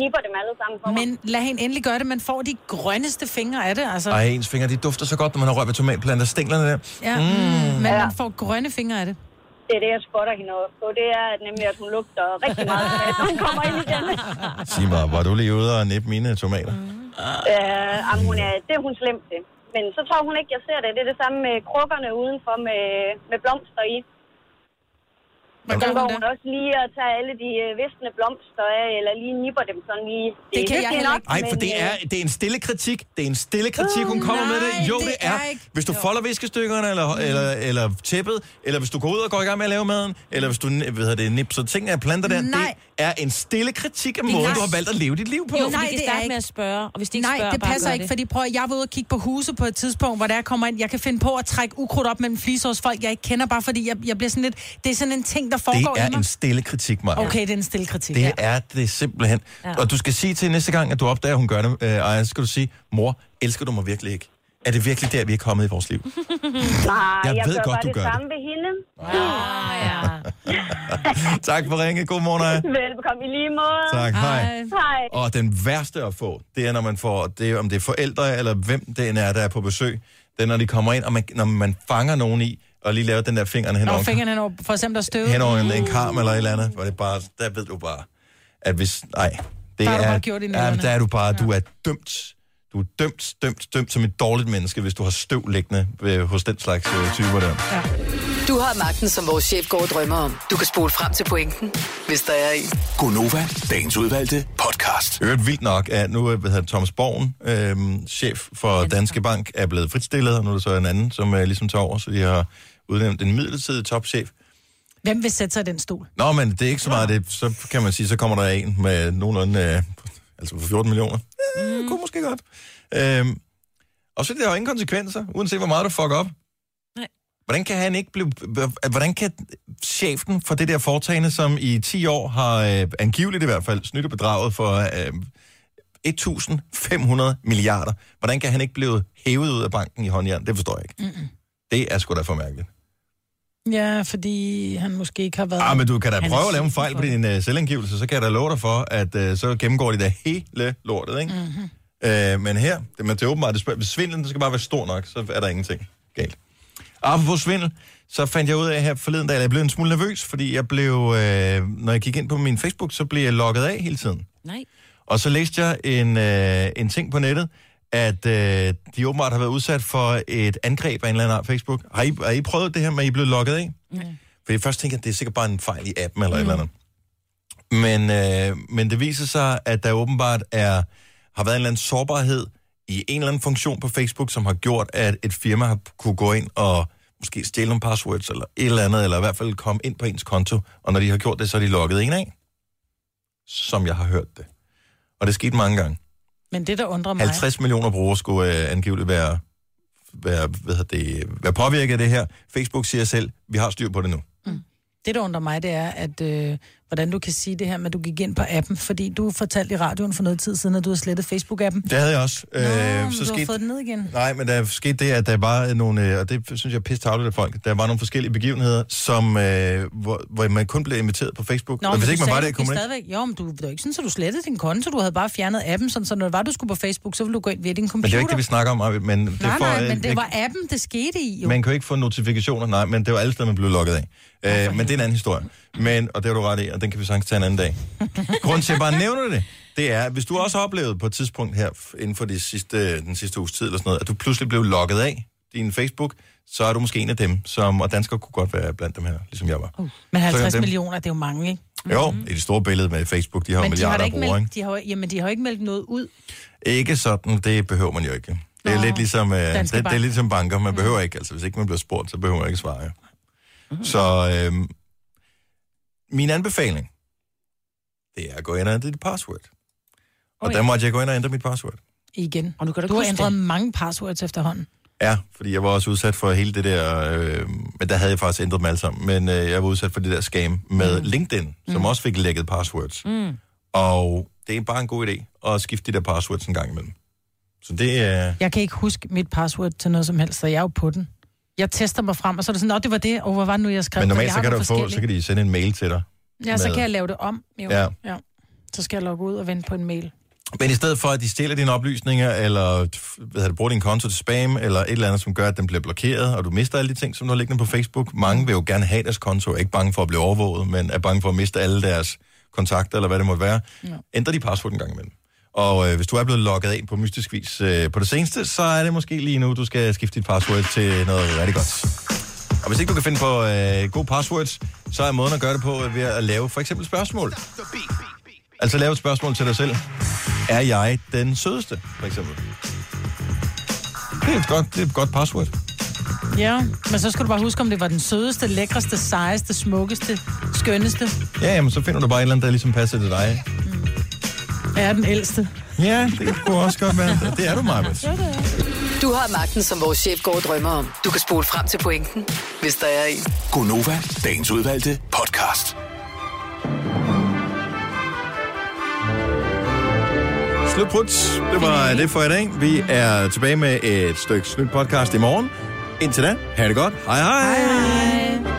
R: nipper dem alle sammen for mig.
B: Men lad hende endelig gøre det, man får de grønneste fingre af det, altså.
A: Ej, ens fingre, de dufter så godt, når man har rørt ved tomatplanter. Stænglerne der.
B: Ja,
A: Mm.
B: mm. men man får grønne fingre af det.
R: Det er det, jeg spotter hende op på. Det er nemlig, at hun lugter rigtig meget, når hun kommer ind i den.
A: Sig mig, var du lige ude og nippe mine tomater?
R: Øh, jamen, hun er, det er hun slemt til. Men så tror hun ikke, jeg ser det. Det er det samme med krukkerne udenfor med, med blomster i.
B: Hvad
R: gør går hun også lige og tager alle de øh, visne blomster af, eller lige nipper dem sådan lige. Det, er hyggeligt nok,
A: Nej, for
R: men,
A: det er,
R: øh,
A: det er en stille kritik. Det er en stille kritik, hun
R: Uh,
A: kommer med
R: nej,
A: det. Jo, det,
R: det
A: er.
R: er ikke-
A: Hvis du folder viskestykkerne, eller, eller, eller tæppet, eller hvis du går ud og går i gang med at lave maden, eller hvis du hvad hedder det, nipser ting af planter der,
B: Nej.
A: det er en stille kritik af
B: Det er
A: måden,
B: nej.
A: du har valgt at leve dit liv på.
C: Jo, nej, det er ikke. med at spørge, og hvis de ikke
B: Nej,
C: spørger,
B: det
C: bare
B: passer
C: gør
B: ikke,
C: det.
B: fordi prøv, at- jeg var ude og kigge på huse på et tidspunkt, hvor der jeg kommer ind, jeg kan finde på at trække ukrudt op mellem fliser hos folk, jeg ikke kender, bare fordi jeg, jeg bliver sådan lidt, det er sådan en ting, der
A: Det
B: foregår
A: er
B: i
A: en
B: mig.
A: stille kritik, Maja.
B: Okay, det er en stille kritik,
A: Det
B: ja.
A: er det simpelthen.
B: Ja.
A: Ja. Og du skal sige til næste gang, at du opdager, at hun gør det, øh, Ej, så skal du sige, mor, elsker du mig virkelig ikke? Er det virkelig der, vi er kommet i vores liv?
R: Nej,
A: Jeg
R: jeg,
A: ved
R: gør
A: godt,
R: bare
A: du
R: det
A: gør det.
R: samme ved hende.
C: Ah,
A: tak for ringe. God morgen, Aja.
R: Velbekomme i lige måde.
A: Tak, hej. Hej.
R: Hej.
A: Og den værste at få, det er, når man får, det, er, om det er forældre eller hvem det end er, der er på besøg, det er, når de kommer ind, og man, når man fanger nogen i, og lige laver den der fingeren hen
B: Når
A: over,
B: fingrene henover, for eksempel der støv.
A: hen over en, en karm eller et eller andet, hvor det bare, der ved du bare, at hvis, nej, det
B: Der har
A: er,
B: du bare gjort det i
A: ja,
B: nullerne.
A: der er du bare, du er dømt. Du er dømt, dømt, dømt som et dårligt menneske, hvis du har støv liggende ved, hos den slags øh, typer der.
D: Du har magten, som vores chef går og drømmer om. Du kan spole frem til pointen, hvis der er en.
E: Gonova, dagens udvalgte podcast.
A: Det er jo vildt nok, at nu øh, hvad hedder det, Thomas Borgen, øh, chef for Danske Bank, er blevet fritstillet, og nu er der så en anden, som øh, ligesom tager over, så de har udnævnt en midlertidig topchef.
B: Hvem vil sætte sig i den stol?
A: Nå, men det er ikke så meget det. Så kan man sige, så kommer der en med nogenlunde, øh, altså for 14 millioner. Mm. Kunne måske godt. Øh, og så er det jo ingen konsekvenser, uanset hvor meget du fucker op.
C: Nej.
A: Hvordan kan han ikke blive... Hvordan kan chefen for det der foretagende, som i 10 år har øh, angiveligt i hvert fald snydt og bedraget for øh, 1.500 milliarder, hvordan kan han ikke blive hævet ud af banken i håndjern? Det forstår jeg ikke.
B: Mm-mm.
A: Det er sgu da for mærkeligt.
B: Ja, fordi han måske ikke har været...
A: Ah, men du kan da
B: Han er
A: prøve at lave en
B: super
A: fejl på din uh, selvangivelse, så kan jeg da love dig for, at uh, så gennemgår de da hele lortet, ikke?
B: Mhm.
A: Mm-hmm. Uh, men her, det, men det er åbenbart, det spørg, hvis svindlen den skal bare være stor nok, så er der ingenting galt. Apropos svindel, så fandt jeg ud af her forleden dag, at jeg blev en smule nervøs, fordi jeg blev, øh, når jeg gik ind på min Facebook, så blev jeg logget af hele tiden.
C: Nej.
A: Og så læste jeg en, øh, en ting på nettet, at øh, de åbenbart har været udsat for et angreb af en eller anden art Facebook. Har I, har I prøvet det her med, at I blev logget af?
G: Nej.
A: For jeg først tænker, at det er sikkert bare en fejl i appen eller mm. et eller andet. Men, øh, men det viser sig, at der åbenbart er, har været en eller anden sårbarhed i en eller anden funktion på Facebook, som har gjort, at et firma har kunne gå ind og måske stjæle nogle passwords eller et eller andet, eller i hvert fald komme ind på ens konto, og når de har gjort det, så er de logget en af. Som jeg har hørt det. Og det skete mange gange.
B: Men det, der undrer mig...
A: 50 millioner brugere skulle øh, angiveligt være, være, hvad hedder det, være påvirket af det her. Facebook siger selv, vi har styr på det nu.
B: Det, der undrer mig, det er, at, øh, hvordan du kan sige det her med, at du gik ind på appen, fordi du fortalte i radioen for noget tid siden, at du har slettet Facebook-appen.
A: Det havde jeg også.
B: Nå, øh, så du har fået den ned igen.
A: Nej, men der skete det, at der var nogle, øh, og det synes jeg er pisse tavlet af folk, der var nogle forskellige begivenheder, som, øh, hvor, hvor man kun blev inviteret på Facebook. og
B: men
A: hvis
B: du
A: ikke man var
B: sagde,
A: det,
B: du
A: kunne man ikke.
B: stadigvæk... Jo, men du, det var ikke sådan, at du slettede din konto. Du havde bare fjernet appen, sådan, så når det var, du skulle på Facebook, så ville du gå ind via din
A: Men det
B: computer.
A: er jo ikke det, vi snakker om, Arvid, men det
B: Nej,
A: får,
B: nej,
A: øh,
B: men det
A: jeg-
B: var appen, det skete i, jo.
A: Man kan jo ikke få notifikationer, nej, men det var alle steder, man blev logget af.
B: Altså.
A: Øh, men det er en anden historie. Men, og det har du ret i, og den kan vi sagtens tage en anden dag. Grunden til, at jeg bare nævner det, det er, hvis du også har oplevet på et tidspunkt her, f- inden for de sidste, den sidste uges tid eller sådan noget, at du pludselig blev logget af din Facebook, så er du måske en af dem, som, og danskere kunne godt være blandt dem her, ligesom jeg var. Uh,
B: Men 50 millioner, det er jo mange, ikke?
A: Jo, i det store billede med Facebook, de har jo
B: Mm-hmm. men de har,
A: milliarder
B: da
A: af
B: ikke
A: brugere,
B: meldt, de har, jo- jamen, de har jo ikke meldt noget ud.
A: ikke? Ikke sådan, det behøver man jo ikke. Det er lidt ligesom, øh, det,
B: Danske
A: det er
B: Bank.
A: ligesom banker, man behøver ikke, altså hvis ikke man bliver spurgt, så behøver man ikke svare. jo. Så øh, min anbefaling, det er at gå ind og ændre dit password. Og
B: Oj.
A: der måtte jeg gå ind og ændre mit password.
B: Igen.
C: Og nu kan
B: du har
C: huske
B: ændret mange passwords efterhånden.
A: Ja, fordi jeg var også udsat for hele det der, øh, men der havde jeg faktisk ændret dem alle sammen, men øh, jeg var udsat for det der scam med mm. LinkedIn, som mm. også fik lækket passwords.
G: Mm.
A: Og det er bare en god idé at skifte de der passwords en gang imellem. Så det er...
B: Jeg kan ikke huske mit password til noget som helst, så jeg er jo på den. Jeg tester mig frem, og så er det sådan, at det var det, og hvor var det nu, jeg skrev?
A: Men
B: For
A: normalt
B: jeg
A: så
B: har
A: kan, du
B: nogle
A: få, så
B: forskellige.
A: kan de sende en mail til dig.
B: Ja, så
A: med-
B: kan jeg lave det om. Jo.
A: Ja.
B: Ja. ja. Så skal jeg logge ud og vente på en mail.
A: Men i stedet for, at de stjæler dine oplysninger, eller f- hvad hedder det, bruger din konto til spam, eller et eller andet, som gør, at den bliver blokeret, og du mister alle de ting, som du har liggende på Facebook. Mange vil jo gerne have deres konto, er ikke bange for at blive overvåget, men er bange for at miste alle deres kontakter, eller hvad det måtte være. Ja. Ændrer de password en gang imellem. Og øh, hvis du er blevet logget af på mystisk vis øh, på det seneste, så er det måske lige nu, du skal skifte dit password til noget rigtig godt. Og hvis ikke du kan finde på øh, gode passwords, så er måden at gøre det på øh, ved at lave for eksempel spørgsmål. Altså lave et spørgsmål til dig selv. Er jeg den sødeste, for eksempel? Det er et godt, det er et godt password.
B: Ja, men så skal du bare huske, om det var den sødeste, lækreste, sejeste, smukkeste, skønneste.
A: Ja, jamen, så finder du bare et eller andet, der ligesom passer til dig.
B: Er den ældste.
A: Ja, det kunne også godt være. Det er du, Marvitt.
D: Du har magten, som vores chef går og drømmer om. Du kan spole frem til pointen, hvis der er en.
E: Gonova, dagens udvalgte podcast.
A: Slutbrudt. Det var det for i dag. Vi er tilbage med et stykke snydt podcast i morgen. Indtil da, ha' det godt. Hej hej. hej, hej.